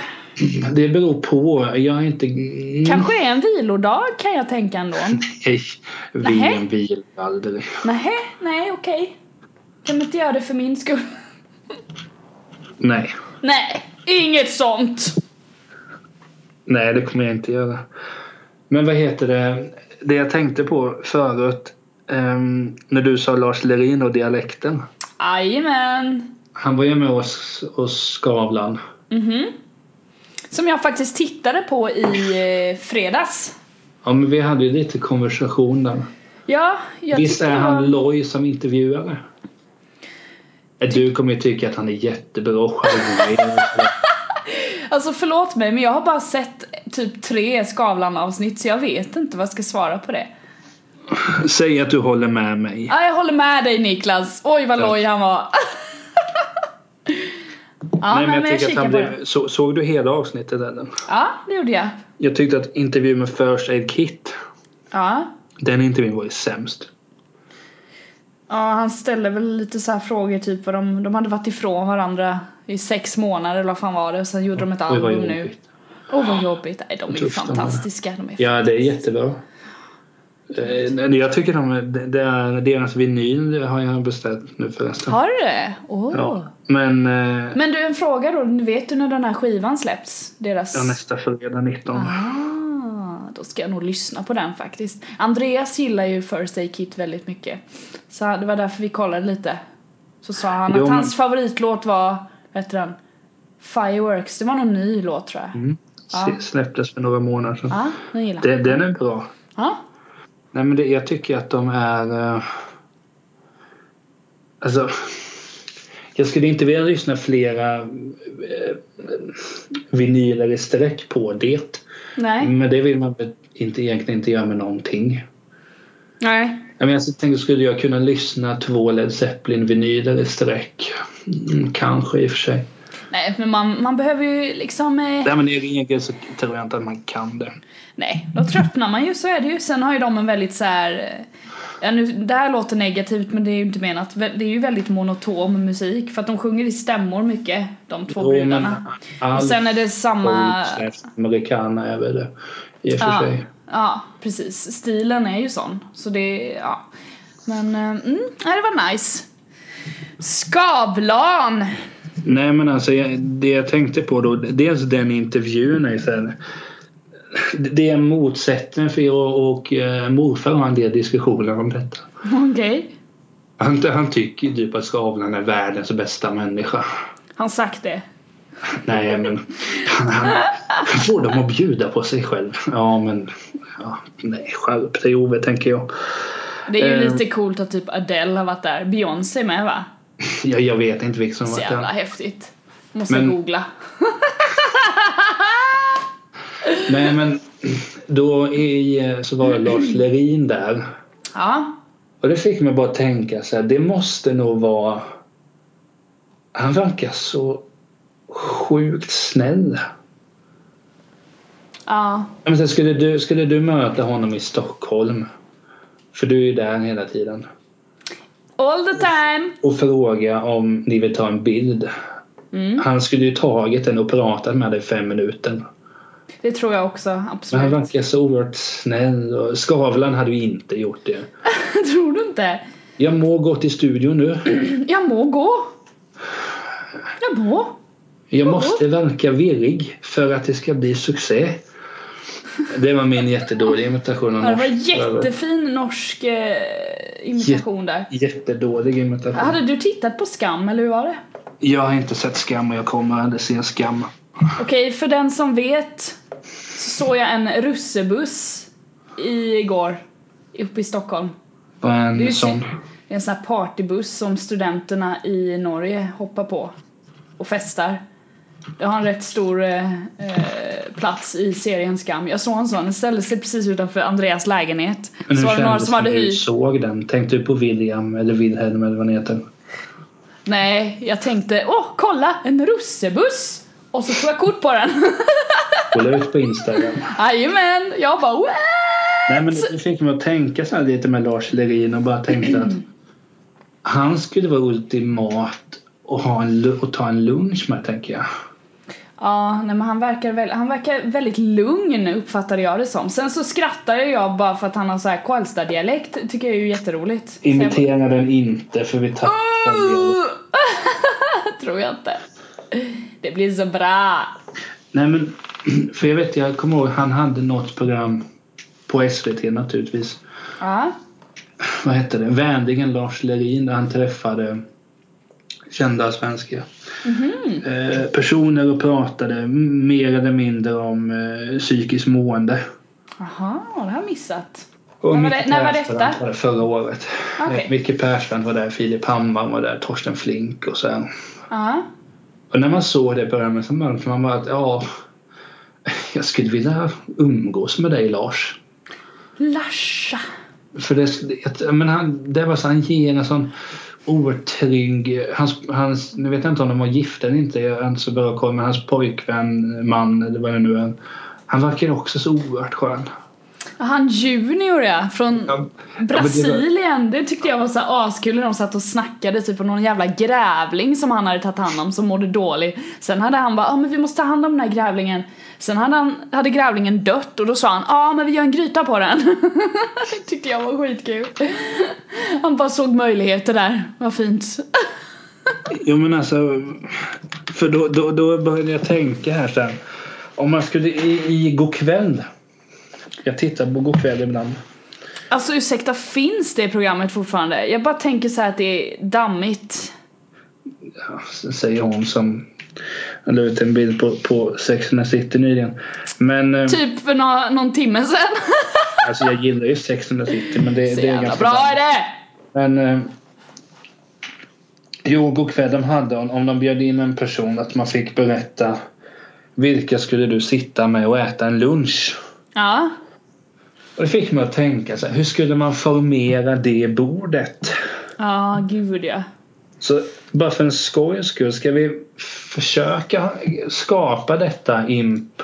S1: Det beror på. Jag är inte... Mm.
S2: Kanske är en vilodag kan jag tänka ändå.
S1: Nej,
S2: Nähä.
S1: VM vilar aldrig.
S2: Nähä, nej okej. Kan du inte göra det för min skull?
S1: Nej.
S2: Nej, inget sånt!
S1: Nej, det kommer jag inte göra. Men vad heter det? Det jag tänkte på förut ehm, när du sa Lars Lerin och dialekten.
S2: Jajamän!
S1: Han var ju med oss och Skavlan.
S2: Mhm. Som jag faktiskt tittade på i eh, fredags.
S1: Ja, men vi hade ju lite konversation där.
S2: Ja, jag
S1: Visst
S2: tyckte
S1: är
S2: det var-
S1: han loj som intervjuare? Äh, Du kommer ju tycka att han är jättebra och charmig.
S2: Alltså förlåt mig men jag har bara sett typ tre Skavlan-avsnitt så jag vet inte vad jag ska svara på det.
S1: Säg att du håller med mig.
S2: Ja, jag håller med dig Niklas. Oj vad
S1: Tack.
S2: loj han var. ja,
S1: Nej, men jag, tycker att
S2: kikar
S1: han
S2: på det.
S1: blev... Så, såg du hela avsnittet eller?
S2: Ja, det gjorde jag.
S1: Jag tyckte att intervjun med First Aid Kit,
S2: Ja.
S1: den intervjun var ju sämst.
S2: ja, han ställde väl lite så här frågor typ vad de, de hade varit ifrån varandra i sex månader eller vad fan var det och sen gjorde de ett
S1: Oj, vad
S2: album nu.
S1: jobbigt.
S2: Åh vad jobbigt. Nej, de är ju
S1: Tufft, de där.
S2: fantastiska. De är...
S1: Ja, det är jättebra. Eh, nej, Jag tycker de, det- det är, deras vinyl det har jag beställt nu förresten.
S2: Har du det? Åh.
S1: Ja, men eh,
S2: Men du en fråga då, vet du när den här skivan släpps? Deras...
S1: ja, nästa fredag 19.
S2: Ah, då ska jag nog lyssna på den faktiskt. Andreas gillar ju First Aid Kit väldigt mycket. Så det var därför vi kollade lite. Så sa han
S1: Jo,
S2: att
S1: men-
S2: hans favoritlåt var, vad heter den? Fireworks, det var någon ny låt tror jag.
S1: Mm.
S2: Ja.
S1: S- Släpptes för några månader sedan.
S2: Ja, den gillar han.
S1: Den, den är bra.
S2: Ja,
S1: Nej, men det, jag tycker att de är... Eh, alltså... Jag skulle inte vilja lyssna flera eh, vinyler i sträck på det.
S2: nej.
S1: Men det vill man väl inte, egentligen inte göra med någonting.
S2: Nej.
S1: Jag, menar, jag tänkte, skulle jag kunna lyssna två Led Zeppelin-vinyler i sträck? Mm, kanske i och för sig.
S2: Nej, men man, man behöver ju liksom... Eh,
S1: Nej, men i regel så tror jag inte att man kan det.
S2: nej, då tröttnar man ju, så är det ju. Sen har ju de en väldigt så här... eh, Ja, nu, det här låter negativt men det är ju inte menat. Vä- Det är ju väldigt monotom musik för att de sjunger i stämmor mycket, de två brudarna.
S1: all
S2: Och sen är det samma...
S1: Amerikana är väl det i och för
S2: Ja,
S1: sig.
S2: ja, precis. Stilen är ju sån. Så det, ja. Men, eh, mm, nej, det var nice. Skavlan!
S1: Nej men alltså jag, det jag tänkte på då. Dels den intervjun är så här, Det är en motsättning för jag och, och eh, morfar har en del diskussioner om detta.
S2: Okej.
S1: Han, han tycker ju typ att Skavlan är världens bästa människa.
S2: Han sagt det.
S1: Nej men han, han, han får dem att bjuda på sig själv. Ja men ja, nej skärp dig Ove tänker jag.
S2: Det är ju
S1: Eh.
S2: lite coolt att typ Adele har varit där. Beyoncé med va?
S1: Jag, jag vet inte vilket som
S2: Så
S1: var
S2: jävla
S1: den.
S2: häftigt. Måste
S1: Men-
S2: googla.
S1: Nej men då i, eh, så var det Lars Lerin där.
S2: Ja.
S1: Och det fick mig bara tänka så här, det måste nog vara... Han verkar så sjukt snäll.
S2: Ja.
S1: Ja, Men så här, skulle, du, skulle du möta honom i Stockholm? För du är ju där hela tiden.
S2: All the time.
S1: Och fråga om ni vill ta en bild.
S2: Mm.
S1: Han skulle ju tagit den och pratat med dig i fem minuter.
S2: Det tror jag också,
S1: Men han
S2: absolut.
S1: verkar så oerhört snäll. Och Skavlan hade ju inte gjort det.
S2: tror du inte?
S1: Jag må gå till studion nu.
S2: Jag må gå. Jag må.
S1: Jag måste verka virrig för att det ska bli succé. Det var min jättedåliga imitation av
S2: Ja, det var
S1: norsk.
S2: en jättefin norsk eh, imitation där.
S1: Jättedålig imitation.
S2: Hade du tittat på Skam eller hur var det?
S1: Jag har inte sett Skam och jag kommer aldrig se Skam.
S2: Okej, för den som vet så såg jag en russebuss igår uppe i Stockholm.
S1: På en
S2: Det är ju
S1: sån.
S2: sy- Det är en sån här partybuss som studenterna i Norge hoppar på och festar. Det har en rätt stor eh, eh, plats i serien Skam. Jag såg en sån, den ställde sig precis utanför Andreas lägenhet.
S1: Men
S2: Så
S1: hur
S2: var det några som
S1: kändes
S2: hade
S1: när du
S2: hyrt.
S1: såg den? Tänkte du på William eller Wilhelm eller vad han heter?
S2: Nej, jag tänkte åh kolla en russebuss! Och så tog jag kort på den.
S1: Kolla ut på Instagram.
S2: Jajamän! Jag bara wow!
S1: Nej men det fick mig att tänka så här lite med Lars Lerin och bara tänkte att han skulle vara ultimat och, ha en, lu- och ta en lunch med tänker jag.
S2: Ja, nej, men han verkar, väl, han verkar väldigt lugn uppfattade jag det som. Sen så skrattade jag bara för att han har så här Karlstad-dialekt. tycker jag är ju jätteroligt. Så jag bara,
S1: Imitera den inte för vi
S2: Ah!
S1: tappar
S2: "Åh!" Tror jag inte. Det blir så bra.
S1: Nej men, för jag vet, jag kommer ihåg han hade något program på SVT naturligtvis.
S2: Ja.
S1: Vad hette det? Vänligen Lars Lerin där han träffade kända svenska
S2: Mhm.
S1: eh, personer och pratade m- mer eller mindre om eh, psykiskt mående.
S2: Jaha, det har jag missat.
S1: Och
S2: När var
S1: Micke
S2: det- när var
S1: Persbrandt
S2: detta?
S1: Var det förra året.
S2: Okej.
S1: Okay. Micke Persbrandt var där, Filip Hammar var där, Torsten Flink och så här.
S2: Ja.
S1: Och när man såg det i början med Samantha, man bara att ja, jag skulle vilja umgås med dig Lars.
S2: Larsa.
S1: För det, det- men han, det var så han ger en sån otrygg, hans, hans, nu vet jag inte om de var gifta eller inte, jag har inte så bra koll, men hans pojkvän, man eller vad det nu är. Han verkar också så oerhört skön.
S2: Han Junior ja, från
S1: Ja,
S2: Brasilien. Det tyckte jag var så här askul när de satt och snackade typ om någon jävla grävling som han hade tagit hand om som mådde dålig. Sen hade han bara, ja ah, men vi måste ta hand om den här grävlingen. Sen hade, han, hade grävlingen dött och då sa han, ja ah, men vi gör en gryta på den. Det tyckte jag var skitkul. Han bara såg möjligheter där, vad fint.
S1: Jo men alltså, för då, då, då började jag tänka här sen. Om man skulle i, i Go'kväll. Jag tittar på Go'kväll ibland.
S2: Alltså ursäkta, finns det programmet fortfarande? Jag bara tänker så här att det är dammigt.
S1: Ja, så säger hon som la ut en bild på, på Sex and the City nyligen. Men eh,
S2: Typ för nå- någon timme sedan.
S1: alltså jag gillar ju Sex and the City men det,
S2: Så
S1: det är
S2: jävla
S1: ganska
S2: bra är
S1: bra.
S2: det!
S1: Men eh, jo, Go'kväll de hade om, om de bjöd in en person att man fick berätta vilka skulle du sitta med och äta en lunch?
S2: Ja.
S1: Och det fick mig att tänka så här, hur skulle man formera det bordet?
S2: Ja, gud ja.
S1: Så bara för en skojs skull, ska vi försöka skapa detta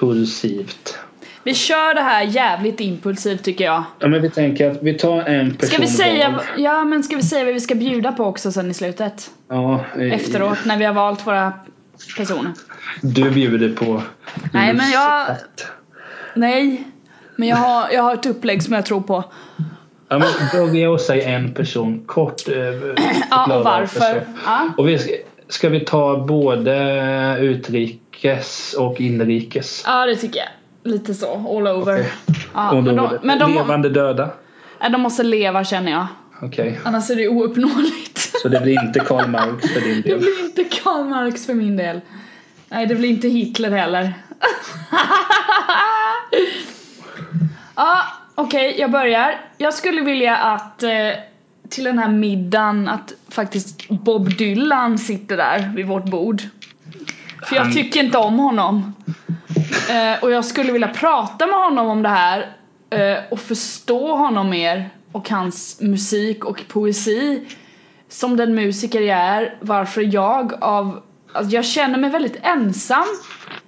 S1: impulsivt?
S2: Vi kör det här jävligt impulsivt tycker jag.
S1: Ja men vi tänker att vi tar en person
S2: Ska vi säga,
S1: var.
S2: ja, men ska vi säga vad vi ska bjuda på också sen i slutet?
S1: Ja, eh,
S2: Efteråt när vi har valt våra personer.
S1: Du bjuder på
S2: Nej, men jag-
S1: lusset.
S2: Nej, men jag har, jag har ett upplägg som jag tror på.
S1: Ja men börja och säga en person kort. eh,
S2: Ja,
S1: förklara
S2: och varför.
S1: varför så.
S2: Ja.
S1: Och vi ska, ska vi ta både utrikes och inrikes? Eh,
S2: ja, det tycker jag. Lite så, all over.
S1: Okej.
S2: Ja,
S1: Och
S2: men
S1: då,
S2: de, men de,
S1: Levande döda?
S2: nej, de måste leva känner jag.
S1: Okej.
S2: Annars är det ouppnåeligt.
S1: Så det blir inte Karl Marx för din
S2: Det
S1: del.
S2: blir inte Karl Marx för min del. Nej, det blir inte Hitler heller. Ja, okej, jag börjar. Jag skulle vilja att eh, till den här middagen att faktiskt Bob Dylan sitter där vid vårt bord. För jag
S1: Han-
S2: tycker inte om honom. Eh, och jag skulle vilja prata med honom om det här eh, och förstå honom mer och hans musik och poesi som den musiker jag är, varför jag av... Alltså jag känner mig väldigt ensam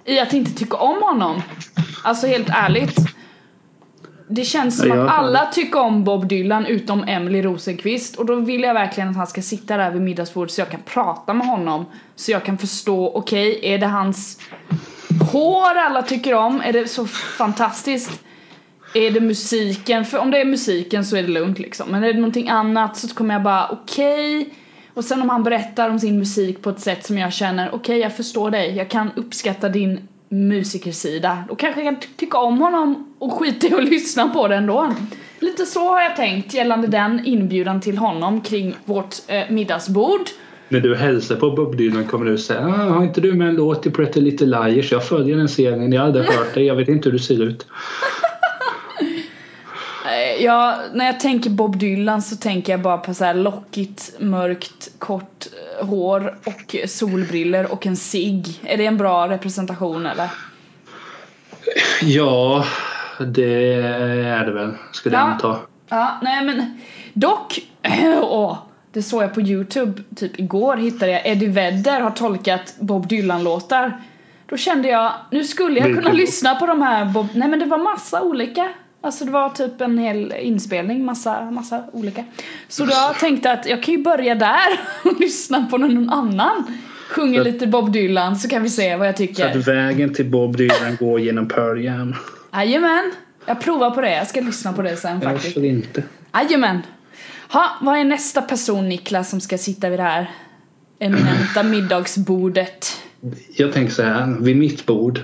S2: i att inte tycka om honom. Alltså helt ärligt. Det känns som
S1: Ja, jag
S2: att
S1: hör
S2: alla tycker om Bob Dylan utom Emily Rosenqvist och då vill jag verkligen att han ska sitta där vid middagsbordet så jag kan prata med honom. Så jag kan förstå, okej, är det hans hår alla tycker om? Är det så fantastiskt? Är det musiken? För om det är musiken så är det lugnt liksom. Men är det någonting annat så kommer jag bara okej. Och sen om han berättar om sin musik på ett sätt som jag känner okej jag förstår dig. Jag kan uppskatta din musikersida. Då kanske jag kan ty- tycka om honom och skita i att lyssna på den då. Lite så har jag tänkt gällande den inbjudan till honom kring vårt eh, middagsbord.
S1: När du hälsar på Bob Dylan kommer du säga ah, Har inte du med en låt i Pretty Little Liars? Jag följer den serien, jag har aldrig hört dig, jag vet inte hur du ser ut.
S2: Eh, Jag, när jag tänker Bob Dylan så tänker jag bara på så här lockigt, mörkt, kort eh, hår och solbriller och en cigg. Är det en bra representation eller?
S1: Ja, det är det väl, skulle jag
S2: Ja.
S1: anta.
S2: Ja, nej men dock, åh, det såg jag på youtube typ igår hittade jag Eddie Vedder har tolkat Bob Dylan-låtar. Då kände jag, nu skulle jag
S1: Vilken
S2: kunna
S1: låt?
S2: lyssna på de här Bob, nej men det var massa olika. Alltså det var typ en hel inspelning, massa, massa olika. Så då tänkte jag att jag kan ju börja där och lyssna på någon annan.
S1: Så-
S2: Sjunger lite Bob Dylan så kan vi se vad jag
S1: Så att
S2: tycker.
S1: vägen till Bob Dylan går genom Pearl Jam.
S2: Jajamän, jag provar på det, jag ska lyssna på det sen faktiskt.
S1: Varför inte?
S2: Jajamän. Ha, vad är nästa person Niklas som ska sitta vid det här eminenta middagsbordet?
S1: Jag tänker så här, vid mitt bord.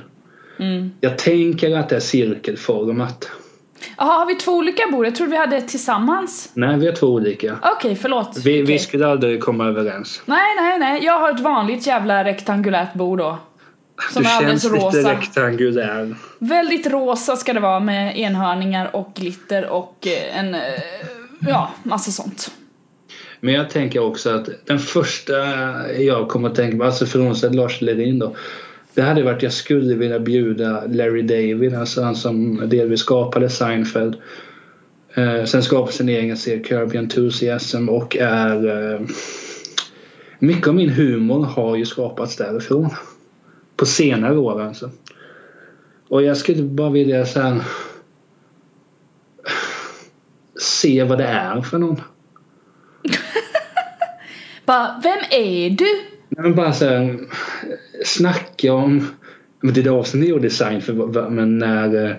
S2: Mm.
S1: Jag tänker att det är cirkelformat.
S2: Jaha, har vi två olika bord? Jag trodde vi hade ett tillsammans.
S1: Nej, vi är två olika.
S2: Okej, förlåt.
S1: Vi, vi
S2: Okej.
S1: skulle aldrig komma överens.
S2: Nej, nej, nej. Jag har ett vanligt jävla rektangulärt bord då. Som
S1: du
S2: är alldeles
S1: känns lite
S2: rosa.
S1: rektangulär.
S2: Väldigt rosa ska det vara med enhörningar och glitter och eh, en... eh, Ja, massa sånt.
S1: Men jag tänker också att den första jag kommer att tänka på, alltså frånsett Lars Lerin då. Det hade varit jag skulle vilja bjuda Larry David, alltså han som delvis skapade Seinfeld. Eh, sen skapade sin egen serie Kirby Enthusiasm och är... Eh, mycket av min humor har ju skapats därifrån. På senare år alltså. Och jag skulle bara vilja så här, se vad det är för någon.
S2: Bara, vem är du?
S1: Nej, men bara så här, snacka om men det där avsnittet ni gjorde i Seinfeld va- va- men när, eh,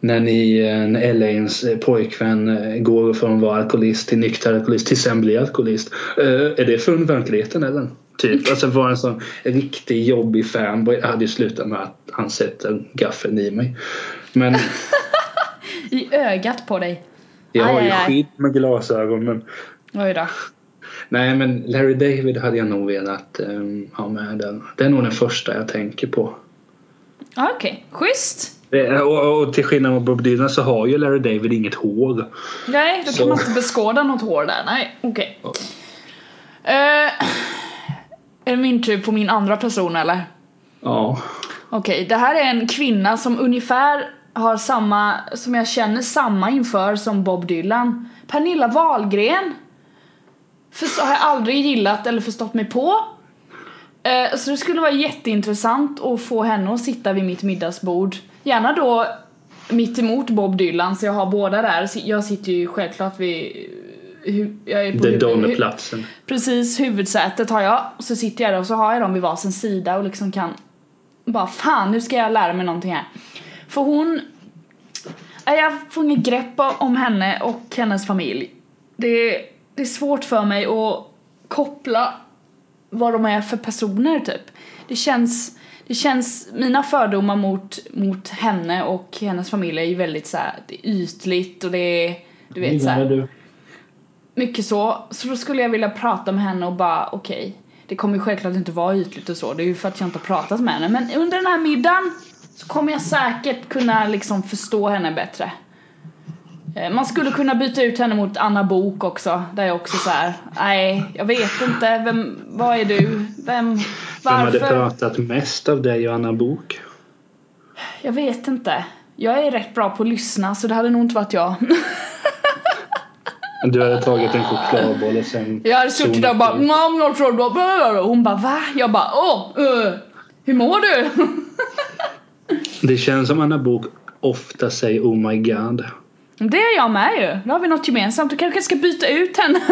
S1: när ni eh, när Elaines eh, pojkvän eh, går från att vara alkoholist till nykter alkoholist till sen blir alkoholist. Eh, Är det från verkligheten eller? Typ. Alltså var en sån riktig jobbig fanboy. Jag hade ju slutat med att han sätter gaffeln i mig. Men
S2: I ögat på dig.
S1: jag har
S2: Aj,
S1: ju
S2: aj, aj.
S1: skydd med glasögon. Men
S2: Oj då.
S1: Nej, men Larry David hade jag nog velat eh, ha med den. Det är nog den första jag tänker på.
S2: Ja, Okej, schysst.
S1: Det- Och, och till skillnad mot Bob Dylan så har ju Larry David inget hår.
S2: Nej, då
S1: Så.
S2: kan man inte beskåda något hår där. Nej, okej.
S1: Ja.
S2: Eh, är det min tur på min andra person eller?
S1: Ja.
S2: Okej, det här är en kvinna som ungefär har samma, som jag känner samma inför som Bob Dylan. Pernilla Wahlgren. För så har jag aldrig gillat eller förstått mig på. Eh, så det skulle vara jätteintressant att få henne att sitta vid mitt middagsbord. Gärna då mitt emot Bob Dylan så jag har båda där. Si- Jag sitter ju självklart vid... eh, hu- Jag är på
S1: Det
S2: hu-
S1: är
S2: hu-
S1: Donnerplatsen.
S2: Precis, huvudsätet har jag. Så sitter jag där och så har jag dem vid varsin sida och liksom kan bara fan nu ska jag lära mig någonting här. För hon, Nej, jag får inget grepp av- om henne och hennes familj. Det, det är svårt för mig att koppla vad de är för personer typ. Det känns, det känns mina fördomar mot, mot henne och hennes familj är ju väldigt så här, det är ytligt och det är, du vet så här,
S1: du.
S2: mycket så. Så då skulle jag vilja prata med henne och bara okej. det kommer ju självklart inte vara ytligt och så. Det är ju för att jag inte har pratat med henne. Men under den här middagen så kommer jag säkert kunna liksom förstå henne bättre. Eh, Man skulle kunna byta ut henne mot Anna Bok också. Där jag också så här. nej jag vet inte, vem, vad är du? Vem,
S1: Vem hade
S2: varför?
S1: pratat mest av dig och Anna Bok?
S2: Jag vet inte. Jag är rätt bra på att lyssna så det hade nog inte varit jag.
S1: Du hade tagit en chokladboll och sen...
S2: Jag hade suttit där och bara "Mm." "Nom, nom, nom, nom, nom." Och Hon bara va? Jag bara åh, eh, hur mår du?
S1: Det känns som Anna Bok ofta säger Oh my god.
S2: Det är jag med ju. Nu har vi något gemensamt. Du kanske ska byta ut henne,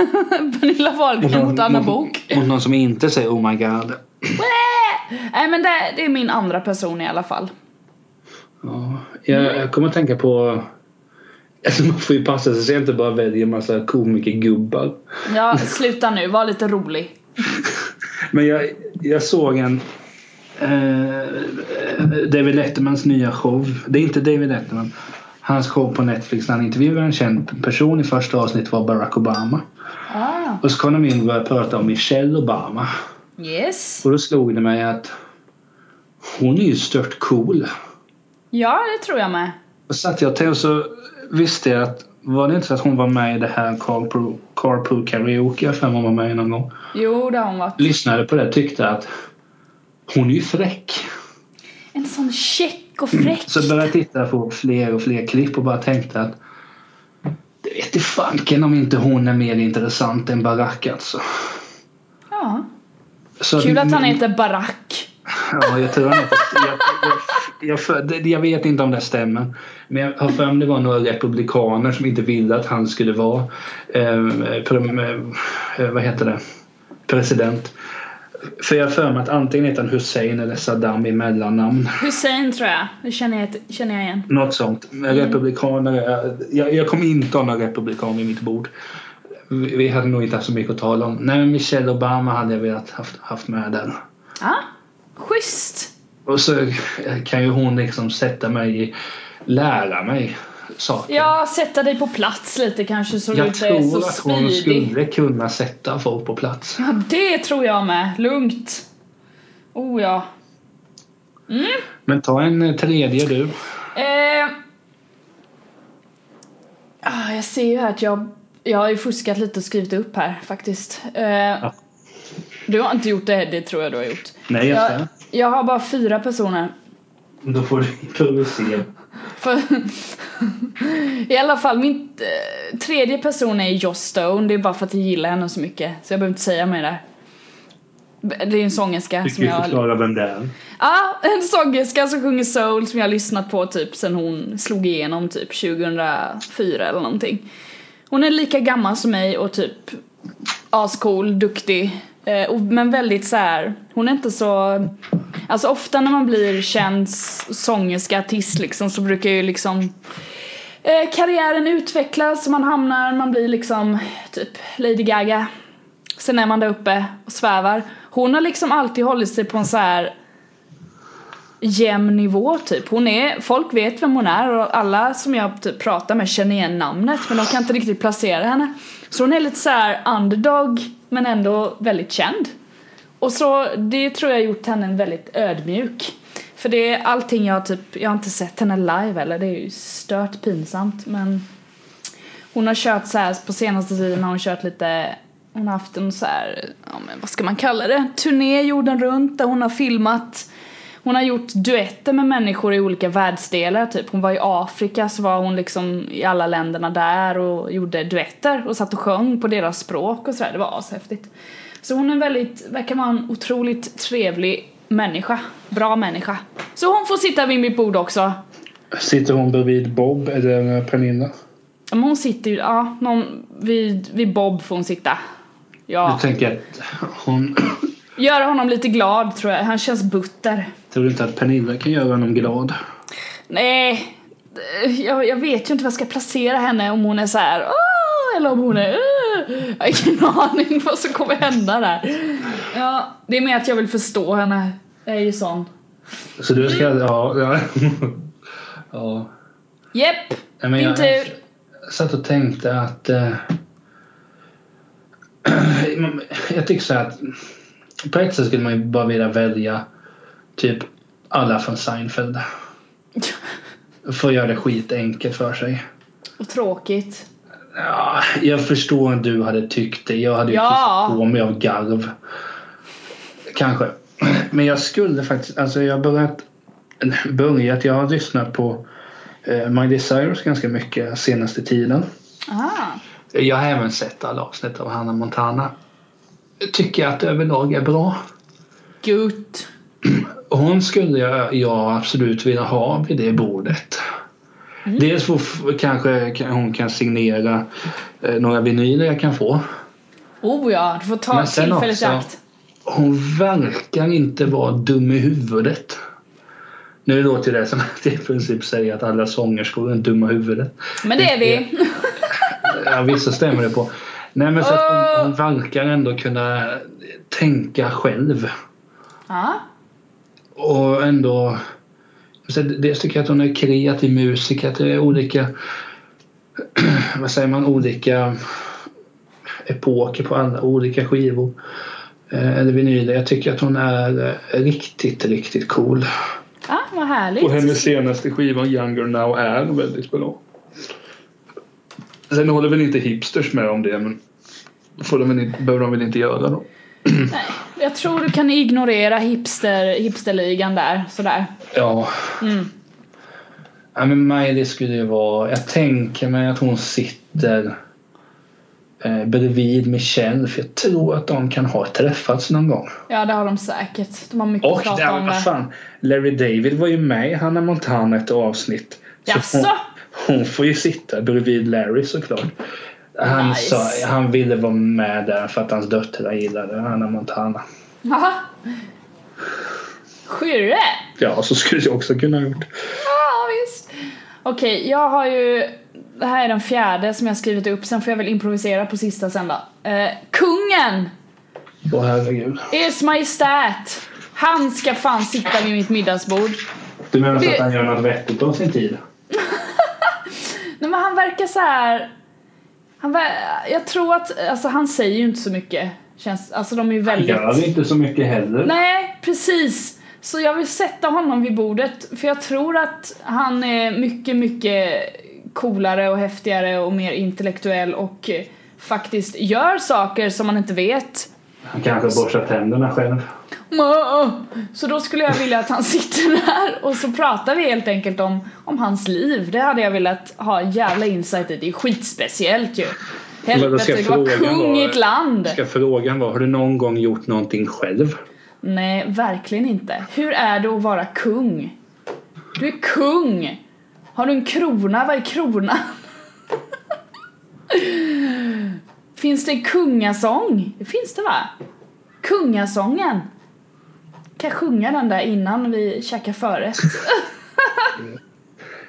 S2: Pernilla Wahlgren, mot Anna Bok.
S1: Mot någon som inte säger Oh my god.
S2: Nej men det, det är min andra person i alla fall.
S1: Ja, jag, jag kommer att tänka på... Alltså man får ju passa sig så jag inte bara väljer en massa komikergubbar.
S2: Ja, sluta nu, var lite rolig.
S1: Men jag, jag såg en... Eh, David Lettermans nya show. Det är inte David Letterman. Hans show på Netflix när han intervjuar en känd person i första avsnittet var Barack Obama.
S2: Ah,
S1: Och så kom de in och började prata om Michelle Obama.
S2: yes.
S1: Och då slog det mig att hon är ju stört cool.
S2: Ja, det tror jag med.
S1: Och satt jag och tänkte så visste jag att var det inte så att hon var med i det här Carpool, carpool Karaoke? Jag har för mig hon var med i någon gång.
S2: Jo, det har hon varit.
S1: Lyssnade på det tyckte att hon är ju fräck.
S2: En sån check och fräck.
S1: Så började jag titta på fler och fler klipp och bara tänkte att det vet i fanken om inte hon är mer intressant än Barack alltså.
S2: Ja.
S1: Så Mm,
S2: Kul att han heter Barack.
S1: Ja, jag tror han heter... Jag, jag, jag, för- det- jag vet inte om det stämmer. Men jag har för mig det var några republikaner som inte ville att han skulle vara eh, prim, eh, vad heter det? president. För jag har för mig att antingen heter han Hussein eller Saddam i mellannamn.
S2: Hussein tror jag. Det känner jag, känner jag igen.
S1: Något sånt. Men Republikaner. eh, Jag, jag kommer inte ha några republikaner vid mitt bord. Vi vi hade nog inte haft så mycket att tala om. Nej, men Michelle Obama hade jag velat haft, haft med där.
S2: Ja, schysst.
S1: Och så kan ju hon liksom sätta mig i, lära mig saker.
S2: Ja, sätta dig på plats lite kanske så du
S1: jag
S2: inte är så
S1: tror att hon
S2: spydig.
S1: skulle kunna sätta folk på plats.
S2: Ja, det tror jag med. Lugnt. Oh ja.
S1: Men ta en eh, tredje du.
S2: Eh. Ah, jag ser ju här att jag, jag har ju fuskat lite och skrivit upp här faktiskt. Eh. Du har inte gjort det, det tror jag du har gjort.
S1: Nej, jag
S2: Jag,
S1: ska.
S2: jag har bara fyra personer.
S1: Då får du improvisera.
S2: Alltså, För, I alla fall, min eh, tredje person är Joss Stone. Det är bara för att jag gillar henne så mycket. Så jag behöver inte säga mer där. Det är en sångerska
S1: Du
S2: som
S1: kan ju
S2: jag
S1: förklara vem det är.
S2: Ja, en sångerska som sjunger soul som jag har lyssnat på typ sen hon slog igenom typ 2004 eller någonting. Hon är lika gammal som mig och typ ascool, duktig. eh, och- Men väldigt så här. hon är inte så... Alltså ofta när man blir känd s- sångerska, artist liksom så brukar ju liksom eh, karriären utvecklas och man hamnar, man blir liksom typ Lady Gaga. Sen är man där uppe och svävar. Hon har liksom alltid hållit sig på en så här jämn nivå typ. Hon är, folk vet vem hon är och alla som jag typ pratar med känner igen namnet men de kan inte riktigt placera henne. Så hon är lite så här underdog men ändå väldigt känd. Och så det tror jag gjort henne väldigt ödmjuk. För det är allting jag typ, jag har inte sett henne live eller det är ju stört pinsamt men hon har kört så här på senaste tiden har hon kört lite hon har haft en så här, ja men vad ska man kalla det, turné jorden runt där hon har filmat hon har gjort duetter med människor i olika världsdelar typ. Hon var i Afrika så var hon liksom i alla länderna där och gjorde duetter och satt och sjöng på deras språk och sådär. Det var ashäftigt. Så hon är en väldigt, verkar vara en otroligt trevlig människa. Bra människa. Så hon får sitta vid mitt bord också.
S1: Sitter hon bredvid Bob eller Pernilla?
S2: Ja, Men hon sitter ju, ja, någon, vid, vid Bob får hon sitta. Ja.
S1: Jag tänker att hon...
S2: Göra honom lite glad tror jag. Han känns butter.
S1: Tror inte att Pernilla kan göra honom glad?
S2: Nej, eh, jag, jag vet ju inte var jag ska placera henne om hon är så här. "Åh", Eller om hon är "Åh". Jag har ingen aning vad som kommer hända där. Ja, det är mer att jag vill förstå henne. Jag är ju sån.
S1: Så du ska... Ja. ja. Mm. ja.
S2: Jepp!
S1: Nej, men
S2: Din
S1: jag,
S2: tur.
S1: jag satt och tänkte att... Eh, jag tycker så här att på ett sätt skulle man ju bara vilja välja typ alla från Seinfeld. För att göra det skitenkelt för sig.
S2: Och tråkigt.
S1: Ja, jag förstår att du hade tyckt det. Jag hade ju
S2: Ja.
S1: kissat på mig av garv. Kanske. Men jag skulle faktiskt, alltså jag har börjat, börjat jag har lyssnat på eh, Miley Cyrus ganska mycket senaste tiden.
S2: Aha.
S1: Jag har även sett alla avsnitt av Hannah Montana. Tycker att det överlag är bra.
S2: Gut.
S1: Hon skulle jag, jag absolut vilja ha vid det bordet. Dels får f- kanske kan- hon kan signera eh, några vinyler jag kan få.
S2: Oh ja, du får ta
S1: Men sen
S2: tillfället i
S1: också-
S2: akt.
S1: Hon verkar inte vara dum i huvudet. Nu låter det som att jag i princip säger att alla sångerskor är dumma i huvudet.
S2: Men det är vi.
S1: Ja, vissa stämmer det på. Nej men så att hon, hon verkar ändå kunna tänka själv.
S2: Ja.
S1: Och ändå... Så dels tycker jag att hon är kreativ musiker, att det är olika... vad säger man? Olika epoker på alla olika skivor. Eh, eller vinyler. Jag tycker att hon är eh, riktigt, riktigt cool.
S2: ja, vad härligt.
S1: Och hennes senaste skiva, Younger Now, är väldigt bra. Sen håller väl inte hipsters med om det, men får de väl inte, behöver de väl inte göra då.
S2: Nej, jag tror du kan ignorera hipster, hipsterligan där, sådär.
S1: Ja.
S2: Mm.
S1: Ja men Miley skulle ju vara, jag tänker mig att hon sitter eh, bredvid Michelle för jag tror att de kan ha träffats någon gång.
S2: Ja, det har de säkert. De har mycket
S1: Och
S2: att prata
S1: där,
S2: om
S1: vad
S2: där.
S1: fan, Larry David var ju med i Hannah Montana ett avsnitt. Så
S2: Jaså?
S1: hon, hon får ju sitta bredvid Larry såklart. Han,
S2: Nice.
S1: sa, han ville vara med där för att hans döttrar gillade Hannah Montana.
S2: Jaha. Skyrre?
S1: Ja, så skulle jag också kunna ha gjort.
S2: Ja, visst. Okej, jag har ju... Det här är den fjärde som jag har skrivit upp, sen får jag väl improvisera på sista sen då. Eh, kungen!
S1: Åh herregud.
S2: Ers Majestät! Han ska fan sitta vid mitt middagsbord.
S1: Du menar så
S2: Det-
S1: att han gör något vettigt av sin tid?
S2: Nej men han verkar så här. Han ver- jag tror att, alltså han säger ju inte så mycket. Känns, alltså de är ju väldigt...
S1: Gör inte så mycket heller.
S2: Nej, precis. Så jag vill sätta honom vid bordet för jag tror att han är mycket, mycket coolare och häftigare och mer intellektuell och eh, faktiskt gör saker som man inte vet.
S1: Han kanske borstar tänderna själv.
S2: Mö. ah, Så då skulle jag vilja att han sitter där och så pratar vi helt enkelt om, om hans liv. Det hade jag velat ha en jävla insight i. Det är skitspeciellt ju.
S1: då ska
S2: Helvete, det var
S1: frågan
S2: kung i
S1: vara-
S2: ett land.
S1: Ska frågan vara, har du någon gång gjort någonting själv?
S2: Nej, verkligen inte. Hur är det att vara kung? Du är kung! Har du en krona? Vad är krona? Finns det en kungasång? Det finns det va? Kungasången! Kan jag sjunga den där innan vi käkar förrätt?